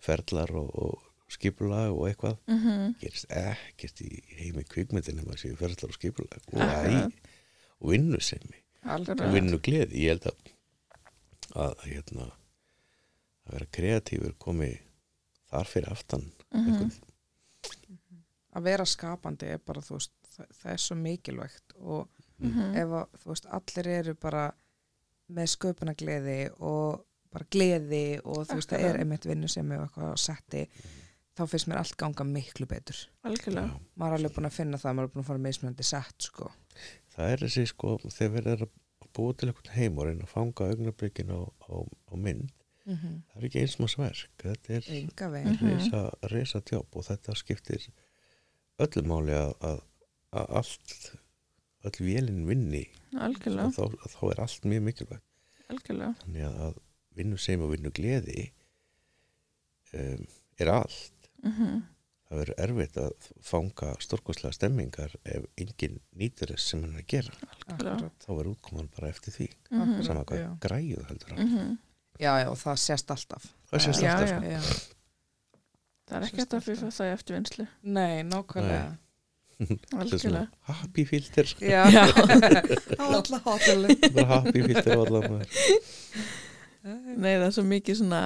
S3: ferlar og, og skipulag og eitthvað
S1: mhm,
S3: gerist ekkert í heimi kvikmyndin nema séu ferlar og skipulag og, æ,
S1: Akkurat.
S3: og vinnusemi
S1: akkurat
S3: og vinnu gleði ég held að að hérna að vera kreatífur komi þar fyrir aftan
S1: Mhm.
S3: einhvern-
S2: Að vera skapandi er bara, þú veist, það, það er svo mikilvægt og
S3: Mm.
S1: Mhm.
S2: ef að, þú veist, allir eru bara með sköpunagleði og bara gleði og þú veist, það er
S1: Akkurat.
S2: einmitt vinnu sem er eitthvað á setti, þá finnst mér allt ganga miklu betur.
S1: algjörlega
S3: Já.
S2: Maður er alveg búin að finna það, maður er búin að fara mismunandi sett, sko.
S3: það er þessi sko þegar verið er að búa til einhvern heim og reyna að fanga augnablikin á, á, á mynd
S2: Mm -hmm.
S3: það er ekki eins manns verk þetta er
S2: Enga veginn.
S1: Mhm.
S3: reysa, reysa tjóp og þetta skiptir öllum máli að, að, að allt öll vélinn vinni
S1: algjörlega,
S3: þá, þá er allt mjög mikilvægt
S1: algjörlega
S3: þannig að, að vinnu sem og vinnu gleði um, er allt
S1: mm
S3: það verður erfitt að fanga stórkoslega stemmingar ef enginn nýtur þess sem hann er að gera
S2: Mm,
S1: algjörlega
S3: þá verður útkoman bara eftir því
S1: Mhm.
S3: sama hvað
S2: já.
S3: græðu heldur hann
S1: Mhm.
S2: Já, já, og það sést alltaf.
S3: það sést
S1: Já,
S3: alltaf
S1: já.
S3: sko.
S2: Já.
S1: það er ekki hægt að fyrir það í eftirvinnslu
S2: Nei, nákvæmlega.
S3: Þetta er svona
S1: algjörlega
S3: happy filter sko,
S2: Já.
S1: Já.
S2: Það var alltaf hóttileg.
S3: bara happy filter á allan maður
S1: Nei, það er svo mikið svona,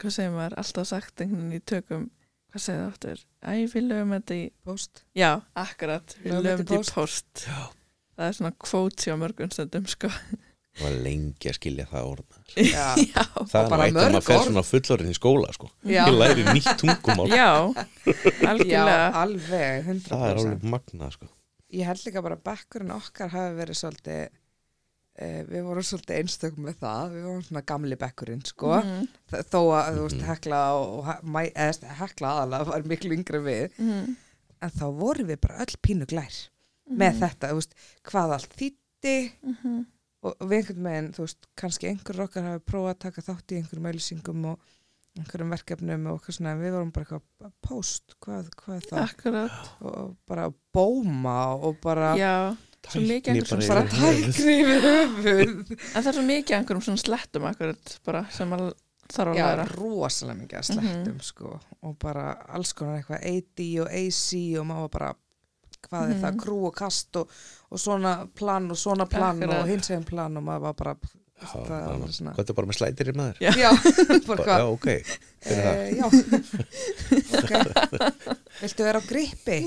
S1: hvað segir maður, alltaf sagt einhvern veginn í tökum, hvað segir það aftur? Æ, við lögum þetta í,
S2: Post.
S1: já, akkurat, við
S2: Lögum
S1: lögum
S2: þetta í
S1: þetta í post.
S3: Já.
S1: Það er svona kvót hjá mörgum stundum, sko.
S3: það var lengi að skilja það orðna
S2: Já.
S1: Já,
S3: það er
S2: bara
S3: nú eitt að
S2: mörg
S3: maður fer
S2: orð.
S3: svona fullorinn í skóla sko.
S2: Já.
S3: ég læri nýtt tungumál
S1: já,
S2: Já,
S1: algjörlega.
S2: alveg, 100%.
S3: það er alveg magna sko.
S2: Ég held líka bara að bekkurinn okkar hafi verið svolítið, uh, við vorum svolítið einstök með það, við vorum svona gamli bekkurinn, sko.
S1: Mhm,
S2: Þ- Þó að, þú
S3: Mhm.
S2: veist, hekla og, og he- mæ, eða, þú veist, hekla aðalega var miklu yngri en við.
S1: mhm,
S2: En þá vorum við bara öll pínu glær með þetta, þú veist, hvað allt þýtti
S1: mhm,
S2: og, og við einhvern veginn, þú veist, kannski einhver okkar hafi prófað að taka þátt í einhverjum auðlýsingum og einhverjum verkefnum og eitthvað svona, en við vorum bara eitthvað post, hvað, hvað þá?
S1: Akkurat,
S2: Og, og bara bóma og bara...
S1: já. Svo mikið
S3: Tækni
S1: einhver svona
S2: bara
S3: yfir höfuð.
S2: tækri yfir höfuð
S1: En það er svo mikið einhverjum svona slettum akkurat, bara, sem maður þarf að
S2: já,
S1: læra.
S2: rosalega mikið
S1: Mhm.
S2: að slettum sko, og bara alls konar eitthvað AD og AC og maður bara hvað er það,
S1: Mhm.
S2: krú og kast og, og svona plan og svona plan
S1: Akkurat.
S2: og hins veginn plan og maður var bara
S3: Já,
S2: það
S3: bara-
S2: var alveg svona-
S3: hvað er bara með slætir í maður
S1: Já.
S2: já, bara
S3: Bara, já,
S2: hvað
S3: ok, fyrir það
S2: eh, já, ok viltu vera á gripi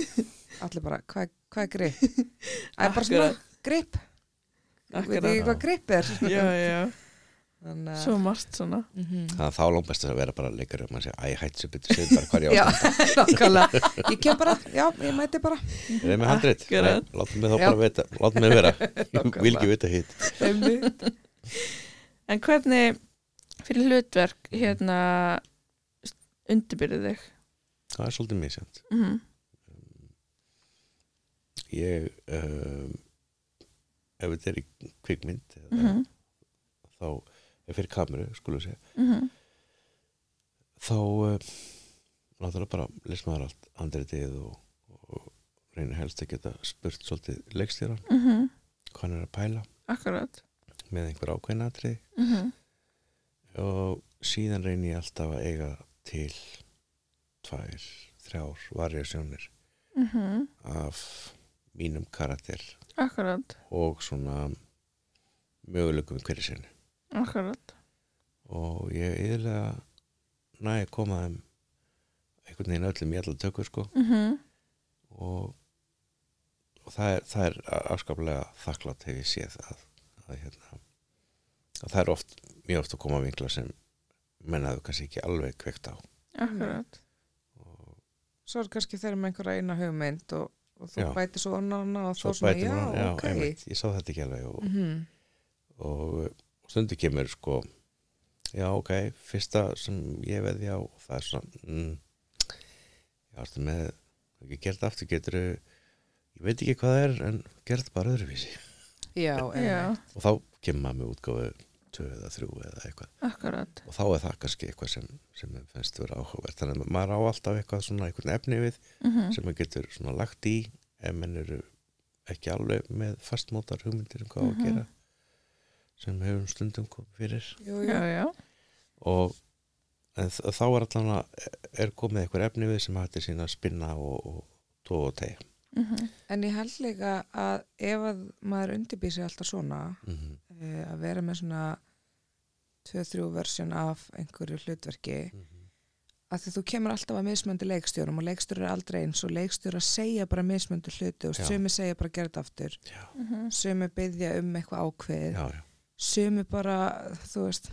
S2: allir bara, hvað, hvað er grip það er bara svona
S1: Akkurat.
S2: grip veit
S1: Akkurat,
S2: ekki hvað grip er
S1: já, já,
S2: Þannig, að-
S1: svo margt svona.
S2: Mhm.
S3: Það er þá langt best að vera bara leikari og maður segja, æ, hætt sér betur, segðu bara hvað ég
S2: Já,
S3: ástand
S2: nákvæmlega. Ég kem bara, já, ég mæti bara.
S3: Er það með handrit?
S1: Akkurat.
S3: Nei, Látum mig þá
S2: Já.
S3: bara vita, látum mig vera Ég
S2: Nákvæmlega.
S3: vil ekki vita hitt
S2: Einmitt.
S1: En hvernig fyrir hlutverk hérna undirbyrðið þig?
S3: það er svolítið misjönd
S1: Mm
S3: ég um, ef þetta er í kvikmynd eða,
S1: -hmm.
S3: þá, ef fyrir kameru skulum við segja
S1: Mm -hmm.
S3: þá um, náttúrulega bara les maður allt andritið og, og reynir helst að geta spurt svolítið leikstýran
S1: Mm -hmm.
S3: hvað hann er að pæla
S1: Akkurat
S3: með einhver ákveðnatrið
S1: mm -hmm.
S3: og síðan reynir ég alltaf að eiga til tvær, þrjár varjasjónir af mínum karakter
S1: Akkurat,
S3: og svona möguleikum hverju sinni
S1: akkurat
S3: og ég yfirlega næ að koma þeim einhvern veginn öllum í allar tökur sko
S1: mm
S3: og, og það, er, það er afskaplega þakklátt hef ég séð að, að, hérna, að það er oft mjög oft að koma vinkla sem mennaðu kannski ekki alveg kveikt á
S1: Akkurat
S3: og
S2: Svo er kannski þeir með einhverja eina hugmynd og, og þú
S3: Já.
S2: bætir svo annana og þá
S3: svo
S2: svona,
S3: bætir
S2: já,
S3: hún já,
S2: ok.
S3: einmitt, ég sá þetta ekki alveg og,
S2: Mm
S1: Mhm.
S3: og, og stundu kemur sko já ok, fyrsta sem ég veði á það er svona mm, já, ertu með ekki gert aftur getur ég veit ekki hvað það er en gert bara öðruvísi
S2: Já,
S1: Já,
S2: einmitt.
S3: og þá kemur maður með útgáfu tvö eða þrjú eða eitthvað
S1: akkurat
S3: og þá er það kannski eitthvað sem, sem þeim finnst vera áhugavert þannig að maður á alltaf eitthvað svona einhvern efni við
S1: mm
S3: sem maður getur svona lagt í ef menn eru ekki alveg með fastmótar hugmyndir um hvað á að
S1: Mhm.
S3: gera sem hefur stundum komið fyrir
S2: Jú, jú.
S1: Já, já,
S3: og en þ- þá er allan að er komið eitthvað efni við sem hættir sína að spinna og, og tóa og tegja
S1: mm
S2: En ég held líka að ef að maður undirbýr sig alltaf svona
S3: mm -hmm.
S2: eh, að vera með svona 2-3 versjón af einhverju hlutverki að því þú kemur alltaf að mismöndi leikstjórum og leikstjóri er aldrei eins og leikstjóri að segja bara mismöndi hluti og
S3: Já.
S2: sumi segja bara gerð aftur
S3: já,
S2: sumi byggja um eitthvað ákveð
S3: já, já.
S2: sumi bara, þú veist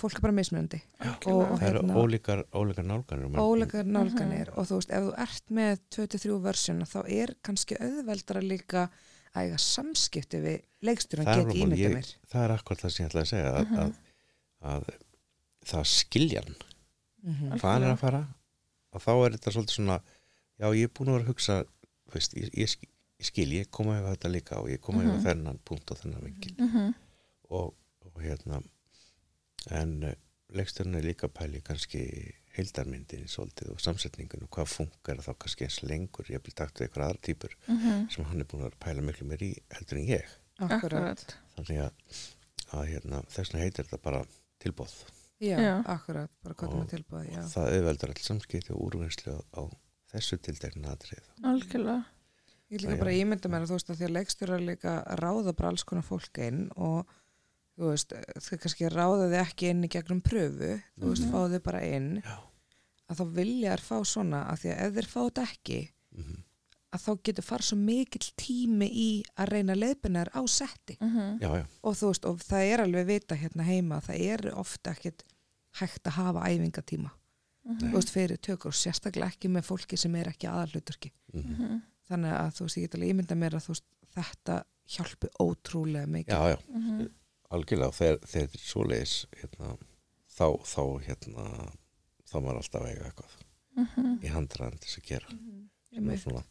S2: fólk er bara mismöndi Og-
S3: það eru
S2: hérna-
S3: ólíkar, ólíkar nálganir og menn-
S2: ólega nálganir og þú veist, ef þú ert með 23 versjón þá er kannski auðveldara líka að eiga samskipti við leikstjóran
S3: Það er
S2: geti
S3: alveg mál,
S2: ímynda
S3: ég-
S2: mér
S3: það er akkur það sem ég ætla að segja að,
S1: Mhm.
S3: að, að það skiljan
S2: Mhm.
S3: hvað hann er að fara og þá er þetta svolítið svona já ég er búin að vera að hugsa þú veist, ég, ég, sk- ég skil, ég koma yfir þetta líka og ég koma yfir
S1: Mhm.
S3: þennan punkt og þennan vingil
S1: -hmm.
S3: og, og hérna en leiksturinn er líka að pæli kannski heildarmyndin svolítið og samsetningun og hvað funkar þá kannski eins lengur, ég vil takt við eitthvað aðra týpur sem hann er búin að vera að pæla miklu mér í heldur en ég
S2: Akkurat,
S1: Akkurat
S3: þannig að, að hérna, þessna heitir þetta bara tilbóð
S2: já,
S1: Já.
S2: akkurat bara hvað
S3: Og-
S2: það með tilbúið, já
S3: og það auðveldar alls samskipti og úrvinnslu á, á þessu tildegna atrið
S1: Algjörlega
S2: Ég
S3: Já,
S2: líka
S3: já.
S2: bara ímynda mér að þú veist að því að leikstjórar líka ráða bara alls konar fólk inn og þú veist, þau kannski ráða þið ekki inn í gegnum pröfu, þú veist,
S1: Mhm.
S2: fá þið bara inn
S3: Já.
S2: að þá vilja þær fá svona að því að ef þeir fá þetta ekki
S3: mm -hmm.
S2: að þá getur farið svo mikill tími í að reyna leiðbunnar á setti
S1: mm
S3: já, já,
S2: og þú veist, og það er alveg vita hérna heima, að það er ofta ekkit hægt að hafa æfingatíma þú veist, fyrir tökur, sérstaklega ekki með fólki sem er ekki aðalhuturki
S3: mm
S2: þannig að þú veist, ég get alveg ímynda mér að þú veist, þetta hjálpi ótrúlega mikið.
S3: já, já, algjörlega þegar, þegar þetta er svoleiðis hérna, þá, þá hérna þá maður alltaf að eiga eitthvað í handraðan til þess að gera sem er
S2: Einmitt.
S3: svona,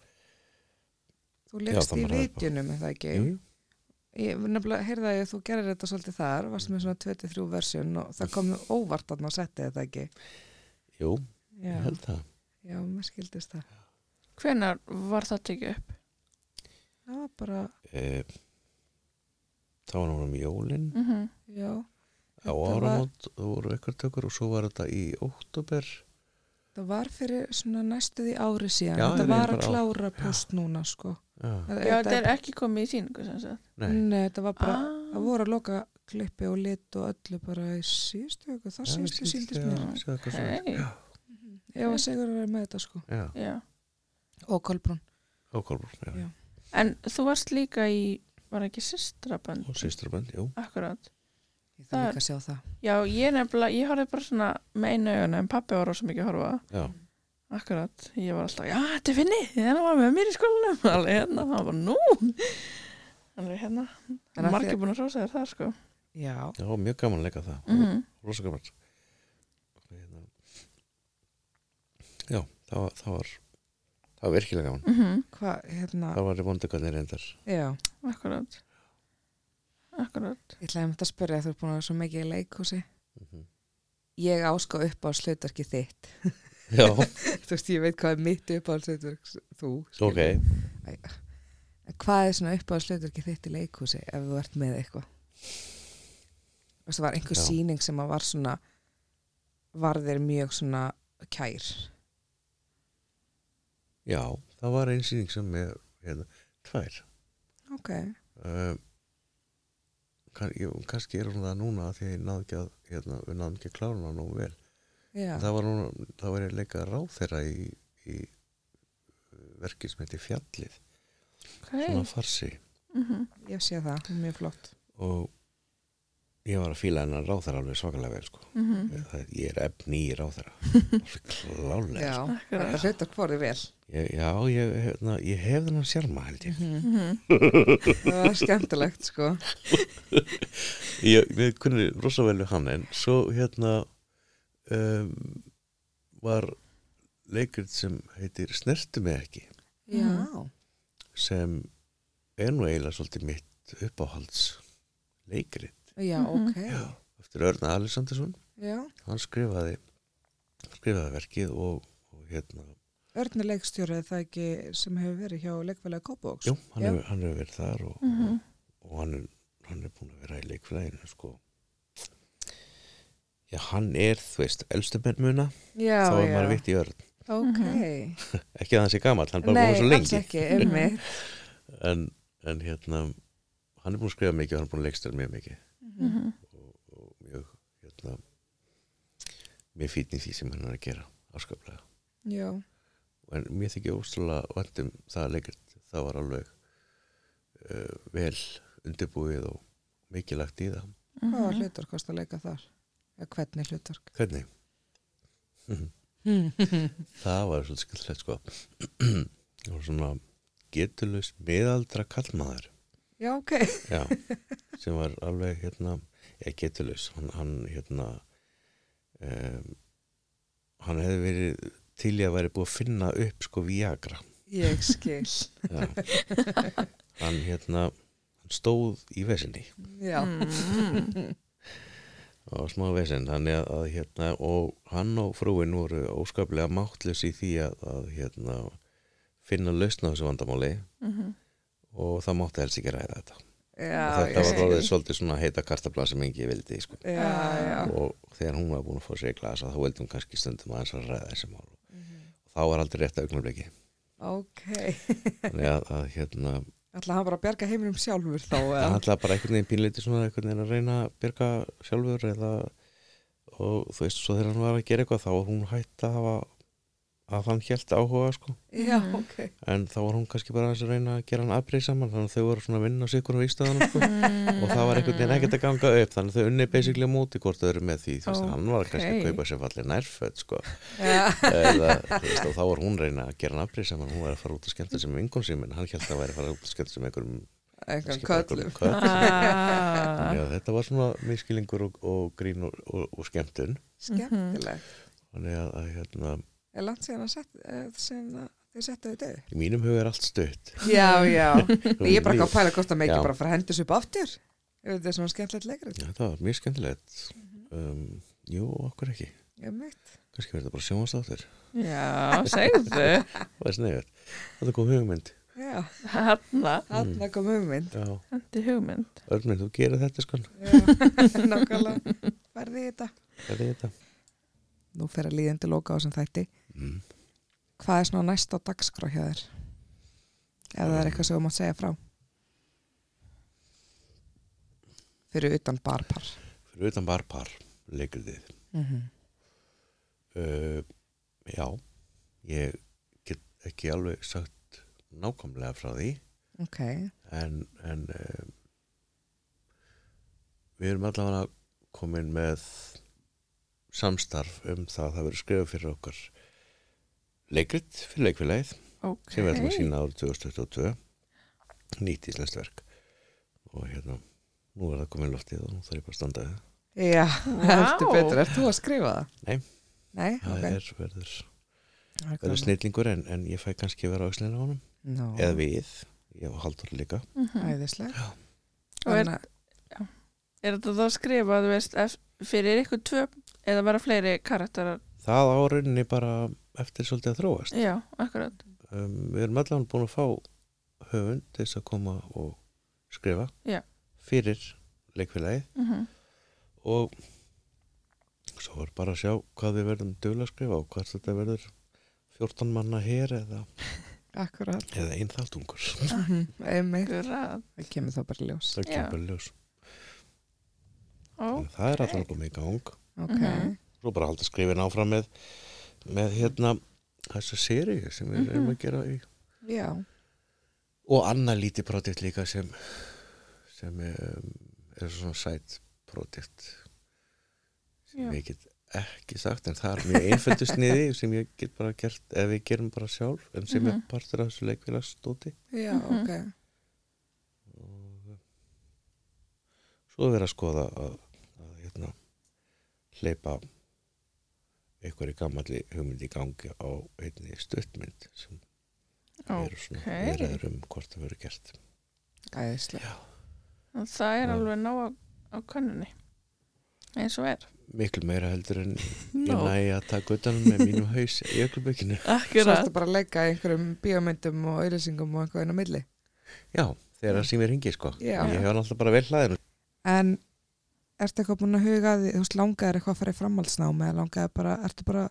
S2: þú leggst
S3: þá
S2: í
S3: maður er bara-
S2: vitjunum, er það ekki?
S3: jú, jú,
S2: Ég nefnilega, heyrða ég að þú gerir þetta svolítið þar, varst með svona 23 versjun og það kom óvart að ná setti þetta ekki.
S3: jú
S2: Já,
S3: ég held það
S2: já, mér skildist það.
S1: Hvenær var það tekið upp?
S2: Það var bara,
S3: e, þá var hún um jólin
S1: Mm
S2: já,
S3: á
S2: Þetta var-
S3: áramót voru eitthvað tökur og svo var þetta í óttúber
S2: það var fyrir svona næstuði ári síðan,
S3: Já,
S2: þetta
S3: ég
S2: var
S3: bara
S2: að
S3: á-
S2: klára post núna, sko.
S3: já,
S1: Já, þetta er ekki komið í síningu sem sagt
S3: nei,
S2: Nei, þetta var bara,
S1: Ah.
S2: það voru að loka klippi og lit og öllu bara í síðustu viku, það
S3: Já,
S2: síðustu
S3: síðustu,
S2: síndist
S3: já,
S2: mér.
S3: síðustu eitthvað svona.
S1: Hey.
S3: Já,
S2: Ég var segur að vera með þetta, sko.
S3: já,
S1: Já.
S2: Og Kolbrún.
S3: og Kolbrún já,
S2: Já.
S1: En þú varst líka í, var ekki systrabönd?
S3: og sýsturbönd, jú
S1: Akkurat
S2: Ég
S1: Það-
S2: þarf líka að sjá það.
S1: Já, ég nefnilega, ég horfði bara svona með einu augun en pappi var rosa mikið að horfa
S3: já,
S1: Akkurat, ég var alltaf, já, þetta er finni, hérna var með mér í skólanum, alveg hérna, hann var nú, alveg hérna,
S2: En af því
S1: margir
S2: að-
S1: búin að rosa þér það, sko.
S2: já,
S3: Já, mjög gaman að leika það
S1: mm
S2: Mhm,
S1: -hmm.
S3: Rosa gaman Hérna. Já, það var það var, það var virkilega gaman
S1: Mm -hmm.
S2: hvað, hérna
S3: Það var vondugarnir reyndar
S2: já,
S1: mhm, Akkurát Akkurát
S2: ég ætlaði einmitt að spyrja þú er búin að vera svo mikið í leikhúsi
S3: mm
S2: ég áska upp á slutverki þitt
S3: Já,
S2: þú veist, ég veit hvað er mitt upp á slutverk þú, skilur.
S3: ok
S2: hvað er svona upp á slutverki þitt í leikhúsi ef þú ert með eitthvað þú veist, það var einhver
S3: Já.
S2: sýning sem að var svona var þér mjög svona kær
S3: Já, það var einn sýning sem með hérna, tvær
S2: ok,
S3: uh, kann, ég, kannski er hún það núna af því að ég náði ekki að hérna, við náðum ekki að klára hana nógu vel
S2: já,
S3: það var, núna, það var ég að leika ráþeira í, í verkið sem heitir Fjallið
S1: okay.
S3: svona farsi
S1: mm -hmm.
S2: ég sé það, hún er mjög flott
S3: og ég var að fíla hennar ráþeira alveg svakalega vel sko.
S1: Mm -hmm.
S2: Mhm.
S3: mm. það, ég er efni í ráþeira klálega
S2: já,
S1: Akkurát
S2: þetta hlutar hvorið vel
S3: ég, já, ég, hérna, ég hef þennan sjálma held ég
S1: mm -hmm.
S2: það var skemmtilegt sko
S3: ég, við kunni rosa vel við hann en svo hérna um, var leikrið sem heitir Snertu mig ekki
S2: já,
S3: sem er nú eiginlega svolítið mitt uppáhalds leikrið
S2: já,
S1: Mhm.
S2: ok
S3: eftir Örna Alessandarsson
S2: já,
S3: hann skrifaði skrifaði verkið og, og hérna
S2: örnuleikstjóri það ekki sem hefur verið hjá leikfælega Kópavóks
S3: jú, hann
S2: Já. Mhm.
S3: hefur hann hefur verið þar og,
S1: Mm -hmm.
S3: og hann, er, hann er búin að vera í leikflæðinu sko já, hann er, þú veist, elstu menn muna
S2: já,
S3: þá er
S2: já. Mhm.
S3: maður vitt í örn
S2: ok
S3: ekki að hann sé gamall, hann er bara
S2: nei,
S3: búin svo
S2: alls
S3: lengi Mhm.
S2: ekki, emmi
S3: en, en hérna hann er búin að skrifa mikið og hann er búin að leikstöra mjög mikið
S2: Mhm.
S1: Mm -hmm.
S3: og, og mjög hérna mjög fínn í því sem hann er að gera afsköflega,
S2: já,
S3: en mér þykir óstrúlega vandum það leikert, það var alveg uh, vel undirbúið og mikið lagt í það
S2: hvað
S1: Mhm.
S2: var hlutar kost að leika þar eða hvernig hlutar
S3: hvernig?
S2: Mhm.
S3: það var svolítið skemmtilegt sko það var svona getulust miðaldra kallmaður
S2: já, ok
S3: Já, sem var alveg hérna, ég geturlaus hann, hann hérna um, hann hefði verið til ég að væri búið að finna upp sko Viagra
S2: ég skil,
S3: Já. hann hérna hann stóð í vesinni
S2: já
S1: Mhm.
S3: og smá vesinn þannig að, að hérna og hann og frúin voru óskaplega máttlös í því að, að hérna finna lausna á þessu vandamáli og það mátti helst ekki ræða þetta
S2: já,
S3: og þetta
S2: ég
S3: var
S2: skil.
S3: orðið svolítið svona heita kartabla sem engi vildi sko
S2: já, já,
S3: og þegar hún var búin að fá sér í glasa þá vildum kannski stundum aðeins að ræða þessi mál og þá var aldrei rétt augnabliki
S2: ok
S3: þannig að, að hérna,
S2: ætla hann bara að bjarga heiminum sjálfur þá
S3: hann
S2: eða?
S3: ætlaði bara einhvern veginn pínleiti svona einhvern veginn að reyna að byrga sjálfur eða, og þú veist, svo þegar hann var að gera eitthvað þá var hún hætt að hafa að hann hjælt áhuga sko
S2: já, ok
S3: en þá var hún kannski bara aðeins að reyna að gera hann aðbreyð saman þannig að þau voru svona að vinna sig hvernig vístöðan sko. og það var einhvern veginn ekkert að ganga upp þannig að þau unni basically á móti hvort þau eru með því þú veist, hann var kannski að
S1: Ókei.
S3: kaupa sér fallið nærföld sko.
S2: já,
S3: eða, þú veist, og þá var hún reyna að gera hann afbrið sem hún var að fara út að skemmta sem vingun sín en hann held að væri að fara út að skemmta sem einhverjum
S2: einhvern
S3: kannski bara
S2: köllum
S3: einhverjum köllum.
S1: ah.
S3: Þannig að þetta var svona miskilingur og, og grín og, og, og skemmtun
S2: skemmtilegt,
S3: þannig að, að hérna,
S2: er langt síðan að sett, eh, síðan að þið settu þau döð
S3: í mínum hug er allt stutt
S2: já, já Ég er bara ekki að pæla hvort að
S3: Já.
S2: meikið bara fara að henda þessu upp aftur Ef Þetta er svona skemmtilegt leikrið
S3: Já, þetta var mjög skemmtilegt um, jú, okkur ekki
S2: Ég mitt
S3: kannski verður þetta bara sjónastáttur
S1: Já, segðu
S3: það er sniðið, þetta kom hugmynd
S2: Já,
S1: Hanna,
S3: Mm.
S2: þarna kom hugmynd
S3: já,
S1: Hérna, hendi hugmynd
S3: örmynd, þú gerir þetta sko
S2: Já, Nákvæmlega, færði í þetta
S3: þetta er þetta
S2: Nú fer að líðandi loka á sem þætti
S3: mm.
S2: Hvað er svona næsta dagskrá hjá þér? Ef það er eitthvað sem þú mátt segja frá Fyrir utan barpar
S3: fyrir utan barpar, leikur þið
S2: mm
S1: Mhm.
S2: -hmm.
S3: Uh, já, ég get ekki alveg sagt nákvæmlega frá því
S2: Ok,
S3: en, en uh, við erum allavega komin með samstarf um það að það verður skrifað fyrir okkar leikrit fyrir leikfélagið
S1: Ok,
S3: sem við ætlum að sína árið 2022 nýtt íslenskt verk og hérna, nú er það komin loftið og nú þarf ég bara að standa við það.
S2: Já, heldur
S1: Vá.
S2: betur. Er þú að skrifa það?
S3: Nei.
S2: Nei, ok.
S3: Það er verður,
S2: Það er
S3: verður
S2: gaman.
S3: snillingur en, en ég fæ kannski að vera á aukslinna á honum
S2: Nó,
S3: eða við, ég og Haldur líka
S1: Mhm.
S2: æðislega.
S1: Og er,
S2: Þannig að-
S1: er þetta þá að skrifa, þú veist, ef, fyrir ykkur tvö eða vera fleiri karakterar?
S3: það á rauninni bara eftir svolítið að þróast
S1: Já, akkurat.
S3: um, við erum allan búin að fá höfund til þess að koma og skrifa
S1: Já.
S3: fyrir leikfélagi
S1: Mm
S2: Mhm.
S3: og svo er bara að sjá hvað við verðum duglega að skrifa og hvað þetta verður 14 manna hér eða,
S2: Akkurat.
S3: eða einþáttungur
S2: Einmitt.
S1: Akkurat.
S2: Það kemur þá bara í ljós.
S3: það
S1: Já.
S3: kemur bara í ljós
S1: Ó,
S3: okay. það er allan komið í gang
S2: Ok.
S1: Mhm.
S3: svo bara halda skrifin áfram með með hérna þessa séri sem
S1: Mhm.
S3: við erum að gera í
S2: Já.
S3: og annað lítið projekt líka sem sem um, er svona sæt projekt sem
S1: Já.
S3: ég get ekki sagt en það er mjög einföldu sniði sem ég get bara gert ef við gerum bara sjálf en sem
S1: Mhm.
S3: er partur af þessu leikfélagsdóti
S2: Já,
S1: Mhm.
S2: ok.
S3: og uh, svo er verið að skoða að, að hérna, hleypa einhverju gammalli hugmynd í gangi á einni stuttmynd sem eru svona
S1: Ókei.
S3: meiraður um hvort það verið gert
S2: Æðislega.
S1: en það er
S3: Já.
S1: alveg ná á, á könnunni. Eins og er.
S3: miklu meira heldur en ég næ að taka utanum með mínum haus í öklubygginu
S2: Svo
S1: Akkurat.
S2: ertu bara að leggja í einhverjum bíómyndum og auðlýsingum og eitthvað inn á milli.
S3: já, þegar það sem ég ringi sko
S2: Já.
S3: ég hef náttúrulega bara vel hlaðinu
S2: En ertu eitthvað búin að huga að því, þú veist, langaðir eitthvað að fara í framhaldsnámi eða langaðir bara, ertu bara,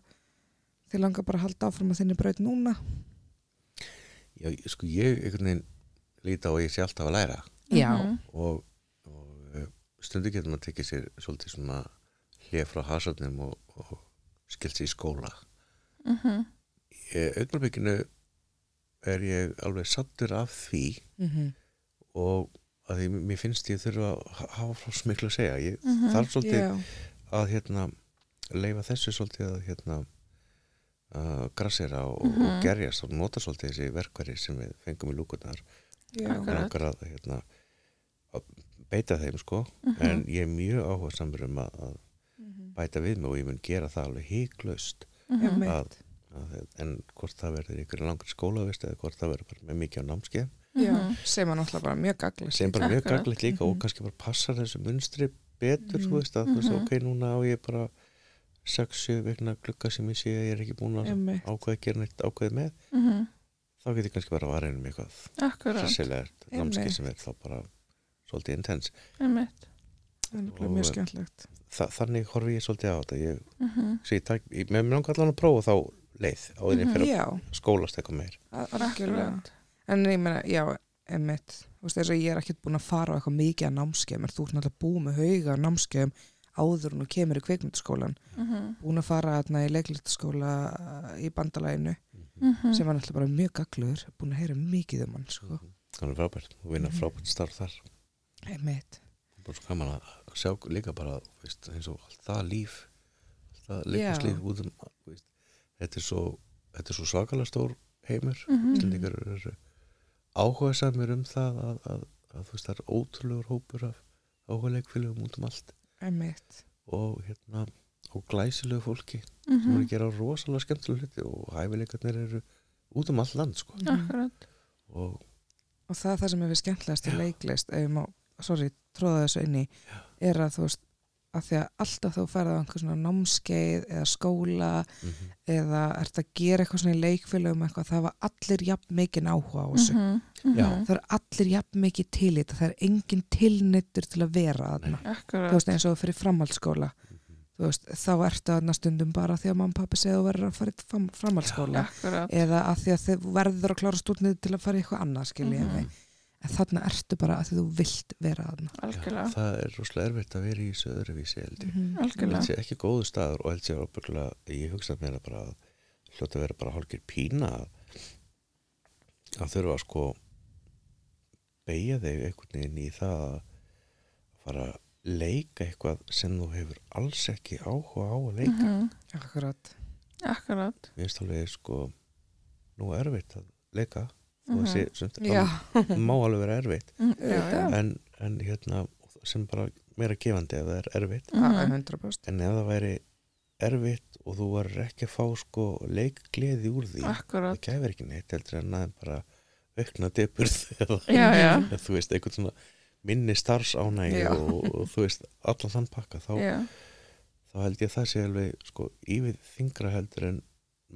S2: þið langar bara að halda áfram að þinni braut núna?
S3: já, sko ég einhvern veginn líta á að ég sé alltaf að læra
S2: Já.
S1: Mhm.
S3: og, og eh, stundu getur maður tekið sér svolítið svona hlið frá hasarnum og, og skilt sér í skóla
S1: Mhm.
S3: í augnablikinu er ég alveg sattur af því
S2: Mm -hmm.
S3: og að því mér finnst ég þurfa að ha- hafa frá smiklu að segja ég
S1: Mhm.
S3: þarf svolítið
S2: Já,
S3: að hérna leifa þessu svolítið að hérna að grassera og,
S1: Mhm.
S3: og gerjast og nota svolítið þessi verkværi sem við fengum í lúkunar
S2: já.
S1: Akkurat.
S3: Mig langar að, hérna, að beita þeim sko
S1: Mhm.
S3: en ég er mjög áhuga samur um að, að
S2: Mhm.
S3: bæta við mig og ég mun gera það alveg híklaust
S1: Mhm.
S2: Einmitt.
S3: að, að, en hvort það verður ykkur langar skólavist eða hvort það verður bara með mikið á námskeið
S2: Já,
S1: Mhm.
S2: sem er náttúrulega bara mjög gaglist.
S3: sem bara mjög
S1: Akkurat.
S3: gaglegt líka og
S2: Mhm.
S3: kannski bara passar þessu munstri betur
S2: Mhm.
S3: þú veist að þú veist
S1: Mhm.
S3: ok núna á ég bara 6-7 vegna glugga sem ég sé að ég er ekki búin að
S2: Einmitt.
S3: ákveða að gera neitt ákveðið með
S1: Mhm.
S3: þá getur kannski bara að vara einum eitthvað
S1: Akkurat.
S3: sessilega námskeið
S2: Einmitt.
S3: sem er þá bara svolítið intens
S1: Einmitt.
S2: Það er nefnilega
S3: Og-
S2: mjög skemmtlegt.
S3: Þa, þannig horfi ég svolítið á þetta ég,
S1: Mhm.
S3: svo ég tak, ég, með mér langar allan að prófa þá leið á því
S1: Mhm.
S3: fyrir
S2: Já,
S3: að skólast eitthvað meir
S2: að- algjörlega.
S1: Akkurat.
S2: En ég meina, já, emmitt, þú veist þess að ég er ekkert búin að fara á eitthvað mikið að námskeiðum, en þú ert náttúrulega búið með hauga á námskeiðum áður en þú kemur í kveikmyndaskólan,
S1: Mhm.
S2: búin að fara þarna í leiklistaskóla í bandalæginu,
S1: Mhm.
S2: sem var náttúrulega bara mjög gaglur, búin að heyra mikið um hann, sko,
S3: þannig frábært og vinna
S1: Mhm.
S3: frábært starf þar
S2: emmitt.
S3: bara svo kannan að sjá líka bara þú veist, eins og allt það líf allt það
S2: Já.
S3: leikurslíf út um þú veist, þetta er svo, þetta er svo svakalega stór heimur
S1: Mhm.
S3: Íslendingar eru áhuga samir um það að, að, að þú veist það er ótrúlegur hópur af áhuga leikfélögum út um allt
S2: Emmitt.
S3: og hérna og glæsilegu fólki sem eru
S1: Mhm.
S3: að gera rosalega skemmtilega hluti og hæfileikarnir eru út um all land sko.
S1: Mhm. Akkurat.
S3: og
S2: og það er það sem er við skemmtilegast í
S3: Já.
S2: leiklist ef ég má, sorry, tróða þessu inn í er að þú veist, að því að alltaf þú ferði á einhver svona námskeið eða skóla
S3: mm
S2: eða ert að gera eitthvað svona í leikfélögum eitthvað, það var allir jafn mikið áhuga á þessu
S1: Mhm. Mhm.
S3: Já.
S2: það er allir jafn mikið til í þetta það er engin tilneittur til að vera þarna þú
S1: Akkurat.
S2: veist, eins og fyrir framhaldsskóla
S3: mhm,
S2: þú veist, þá ertu þarna stundum bara því að mann pappi segja þú verður að fara í fram- framhaldsskóla
S1: Akkurat.
S2: eða að því að þið verður að klára stúrnið til að fara í eitthvað annað skilja mm
S1: Mhm.
S2: en þarna ertu bara að því þú vilt vera þarna
S1: Algjörlega.
S3: það er rosalega erfitt að vera í þessu öðruvísi held ég Ég held
S1: Mhm. Algjörlega.
S3: sé ekki góðu staður og held sé ábyggulega, ég hugsa mér að bara hljóta að vera bara hálfgjör pína að- að þurfa að sko beigja þig einhvern veginn í það að fara að leika eitthvað sem þú hefur alls ekki áhuga á að leika
S1: Mhm.
S2: Akkurat
S1: Akkurat.
S3: mér finnst alveg sko nú erfitt að leika
S1: Mhm.
S3: og þessi, sumt,
S2: Já,
S3: það má alveg vera erfitt
S1: Mm, Já, já.
S3: en, en hérna sem bara meira gefandi ef það er erfitt
S1: Mhm.
S2: það er 100%
S3: en ef það væri erfitt og þú var ekki að fá sko leikgleði úr því það
S1: Akkurat,
S3: gæfir ekki neitt heldur en aðeins bara aukna depurð eða
S1: já, já,
S3: eða þú veist, einhvern svona minni starfsánægi
S2: Já.
S3: og, og þú veist, allan þann pakka þá,
S1: já,
S3: þá held ég að það sé alveg sko, yfir þingra heldur en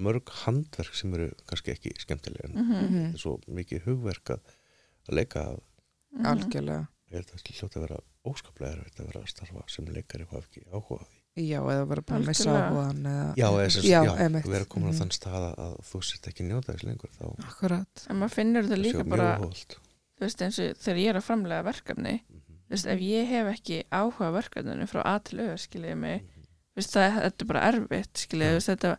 S3: mörg handverk sem eru kannski ekki skemmtilega en
S1: mhm, mhm,
S3: þetta er svo mikið hugverk að, að leika að
S1: mhm.
S2: algjörlega
S3: ég held að það hljóta að vera óskaplega erfitt að vera að starfa sem leikari og hafa ekki áhuga á því
S2: já, eða bara bara missa
S1: Algjörlega.
S2: áhugan eða...
S3: já, eða, sem,
S2: Já,
S3: já, já
S2: einmitt.
S3: vera komin á
S2: Mhm.
S3: þann stað að- að þú sért ekki njóta þess lengur þá
S2: akkurat
S1: en maður finnur þetta
S3: það sé
S1: líka
S3: mjög
S1: bara
S3: hólt
S1: þú veist eins og þegar ég er að framlega verkefni
S3: Mhm.
S1: þú veist ef ég hef ekki áhuga á verkefninu frá A til Ö skiljiði mig þú veist það þetta er bara erfitt skiljiði
S3: Já.
S1: þú veist þetta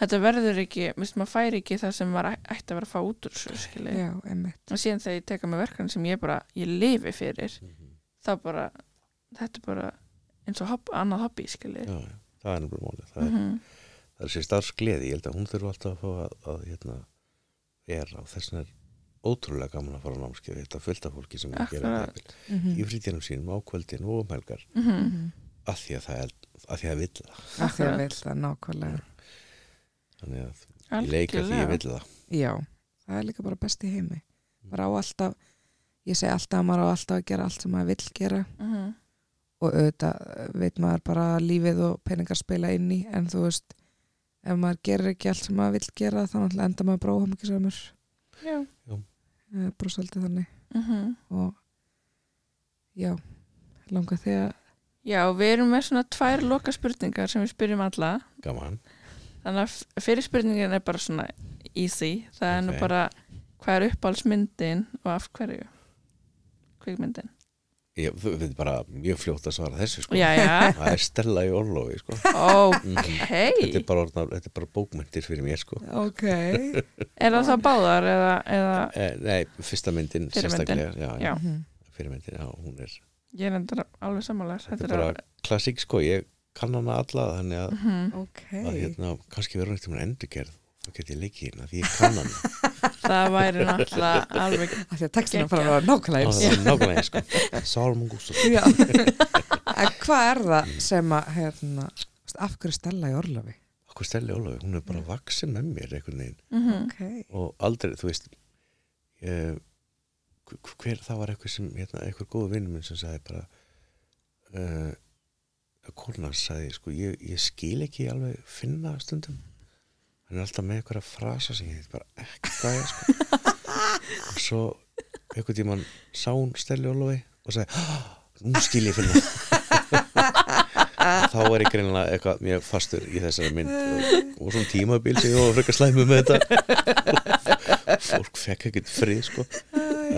S1: þetta verður ekki þú veist maður fær ekki það sem maður æ- ætti að vera að fá út úr þessu skiljiði
S2: já, einmitt
S1: og síðan þegar ég teka með verkefni sem ég bara ég lifi fyrir
S3: Mhm.
S1: þá bara þetta er bara eins og hopp, annað hobby skiljiði
S3: já, já, það er nefnilega málið það er
S1: mm -hmm.
S3: það er sér starfsgleði, ég held að hún þurfa alltaf að fá að, að hérna, vera og þess vegna er ótrúlega gaman að fara á námskeið þetta fullt af fólki sem er að gera
S1: Akkurat. Mhm.
S3: þetta
S2: mm
S3: í frítíðanum sínum á kvöldin og um helgar
S1: Mm -hmm.
S3: að því að það er að því að vill það
S2: að því
S1: Akkurat.
S2: að vil það nákvæmlega
S3: þannig að ég leika því ég vill það
S2: já, það er líka bara best í heimi bara á alltaf ég segi alltaf að maður á alltaf að gera allt sem maður vill gera
S1: mhm,
S2: og auðvitað eh, veit maður bara að lífið og peningar spila inn í en þú veist ef maður gerir ekki allt sem maður vill gera þá náttúrulega endar maður bara óhammingisamur
S1: já
S2: eh, bara svolítið þannig
S1: mm
S2: og já langar því að
S1: já við erum með svona tvær loka spurningar sem við spyrjum alla
S3: gaman,
S1: Þannig að f- fyrri spurningin er bara svona easy, það er nú
S3: Ok.
S1: bara hvað er uppáhaldsmyndin og af hverju kvikmyndin
S3: ég, þú veit bara mjög fljótt að svara þessu sko
S1: já já,
S3: það er stella í orlofi sko Mhm.
S1: ok
S3: þetta er bara, orðnar, þetta er bara bókmyndir fyrir mér sko
S2: ok,
S1: er það þá báðar eða, eða
S3: eh, nei, fyrsta myndin
S1: Fyrri myndin.
S3: sérstaklega já,
S1: Já.
S2: Mhm.
S3: fyrir myndin, já, hún er
S1: ég er endur alveg sammálar
S3: þetta er bara klassík sko, ég kann hana alla þannig að,
S1: Mhm.
S2: ok
S3: að hérna, kannski verður eitthvað endurgerð þá get ég leikið hérna, því ég kann hana
S1: það væri náttúrulega alveg
S2: að því að textina fara að vera
S3: Á,
S2: nákvæmlega
S3: það
S2: eins
S3: er nákvæmlega sko Sárum og Gústaf
S2: já en hvað er það sem að hérna, þú veist, af hverju stella í orlofi
S3: okkur Stelli Ólafi, hún er bara vaksin með mér einhvern veginn
S1: Mhm.
S2: ok,
S3: og aldrei, þú veist eh, hv- hver, það var eitthvað sem hérna, eitthvað góðu vinnum minn sem sagði bara uh, að konan sagði, sko, ég, ég skil ekki alveg finna stundum hann er alltaf með eitthvað að frasa sig þetta er bara ekki hvað ég sko og svo einhvern tímann sá hún Stelli Ólafi og sagði, "Ah, nú skil ég finna þá er ég greinilega eitthvað mjög fastur í þessari mynd og, og svona tímabil sem ég var frekar slæmi með þetta fólk fekk ekkert frið sko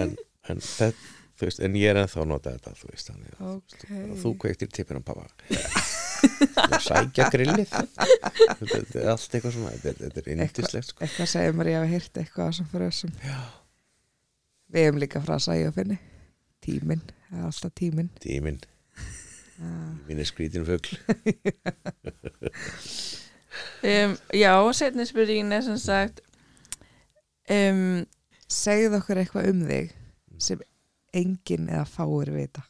S3: en, en, það, þú veist, en ég er ennþá að nota þetta þú veist þannig að
S2: ok
S3: okay. þú kveiktir tippin á pappa og sækja grillið þetta þetta er allt eitthvað svona þetta, er- þetta er indislegt sko
S2: eitthvað segir mér ég hafi hýrt eitthvað sem fyrir þessum
S3: Já.
S2: við hefum líka frasa í ofinni tíminn, það er alltaf tíminn
S3: tíminn,
S2: Ah,
S3: minn er skrítin fugl
S1: um, já, setni spurningin er sem sagt um,
S2: segðu okkur eitthvað um þig sem enginn eða fáir vita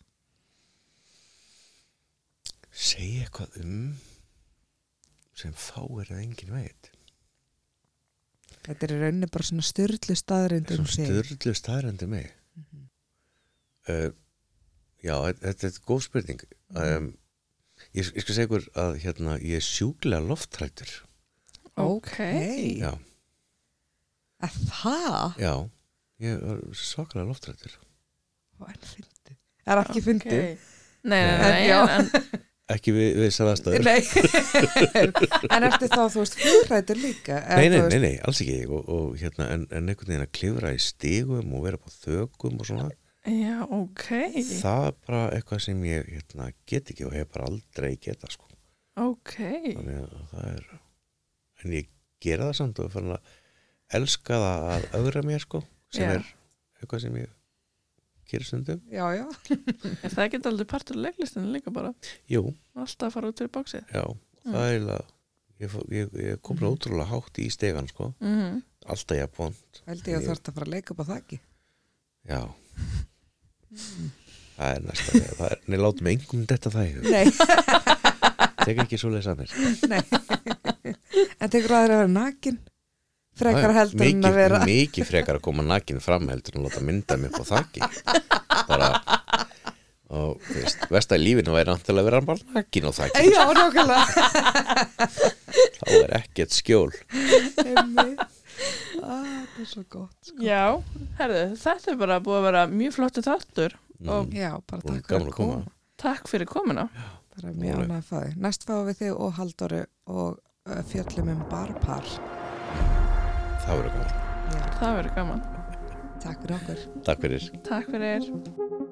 S3: segja eitthvað um sem fáir að enginn veit
S2: þetta er í rauninni bara svona styrlu staðrind um
S3: Svo
S2: sig
S3: styrlu staðrendi um mig uh, Já, þetta- þetta er góð spurning um, ég, ég skal segja ykkur að hérna, ég er sjúklega loftrættur
S1: ok
S2: Ókei.
S3: Já,
S2: að það
S3: já Ég er svakalega loftrættur
S2: Ó, en fyndið. er ekki fyndið
S1: Ok. nei, nei,
S2: En
S1: nei,
S2: já.
S1: en, en
S3: Ekki við, við þessar aðstæður
S2: Nei. en eftir þá þú veist húrættur líka eða
S3: Nei, nei,
S2: þú
S3: nei,
S2: veist-
S3: nei, alls ekki og, og, hérna, en, en einhvern veginn að klifra í stigum og vera upp á þökum og svona
S1: Já, ok,
S3: Það er bara eitthvað sem ég hérna, get ekki og hef bara aldrei geta sko.
S1: ok,
S3: þannig að það er en ég gera það samt og er farin að elska það að öðra mér sko sem
S1: Já.
S3: er eitthvað sem ég gerir stundum
S2: já, já,
S1: er það ekki aldrei partur leiklistinu líka bara,
S3: jú,
S1: alltaf að fara út fyrir bóksið
S3: já,
S2: Mm.
S3: það er eiginlega ég, fó- ég, ég kom mm. ótrúlega hátt í stegan sko
S1: mm -hmm.
S2: Mhm.
S3: alltaf jafnvon,
S2: held ég að þú ert að fara að leika upp á þakki
S3: já það er næsta það er, Nei, látum engum þetta það í hug
S2: Nei,
S3: Tek ekki svo leið samir
S2: nei. en tekur aðra að vera nakin frekar heldur en að vera
S3: Mikið frekar að koma nakin fram heldur en að láta mynda mig upp á þakki Bara og þú veist, vest að lífinu væri náttúrulega að vera bara nakin á þakki
S2: Já, nákvæmlega
S3: þá er ekkert skjól
S2: Einmitt. Ah, Það er svo gott sko.
S1: Já, herðu, þetta er bara búið að vera mjög flottu þáttur og
S3: Mm.
S2: Já, bara
S3: Voru
S2: takk fyrir
S3: gaman
S2: að
S3: að koma.
S2: koma
S1: takk fyrir komuna.
S2: bara mjög
S3: Voru.
S2: ánægð að fá þig næst fáum við þig og Halldóru og uh, fjöllum um barpar
S3: það verður gaman
S2: Já,
S1: Það verður gaman.
S2: takk fyrir okkur
S3: Takk fyrir
S1: Takk fyrir.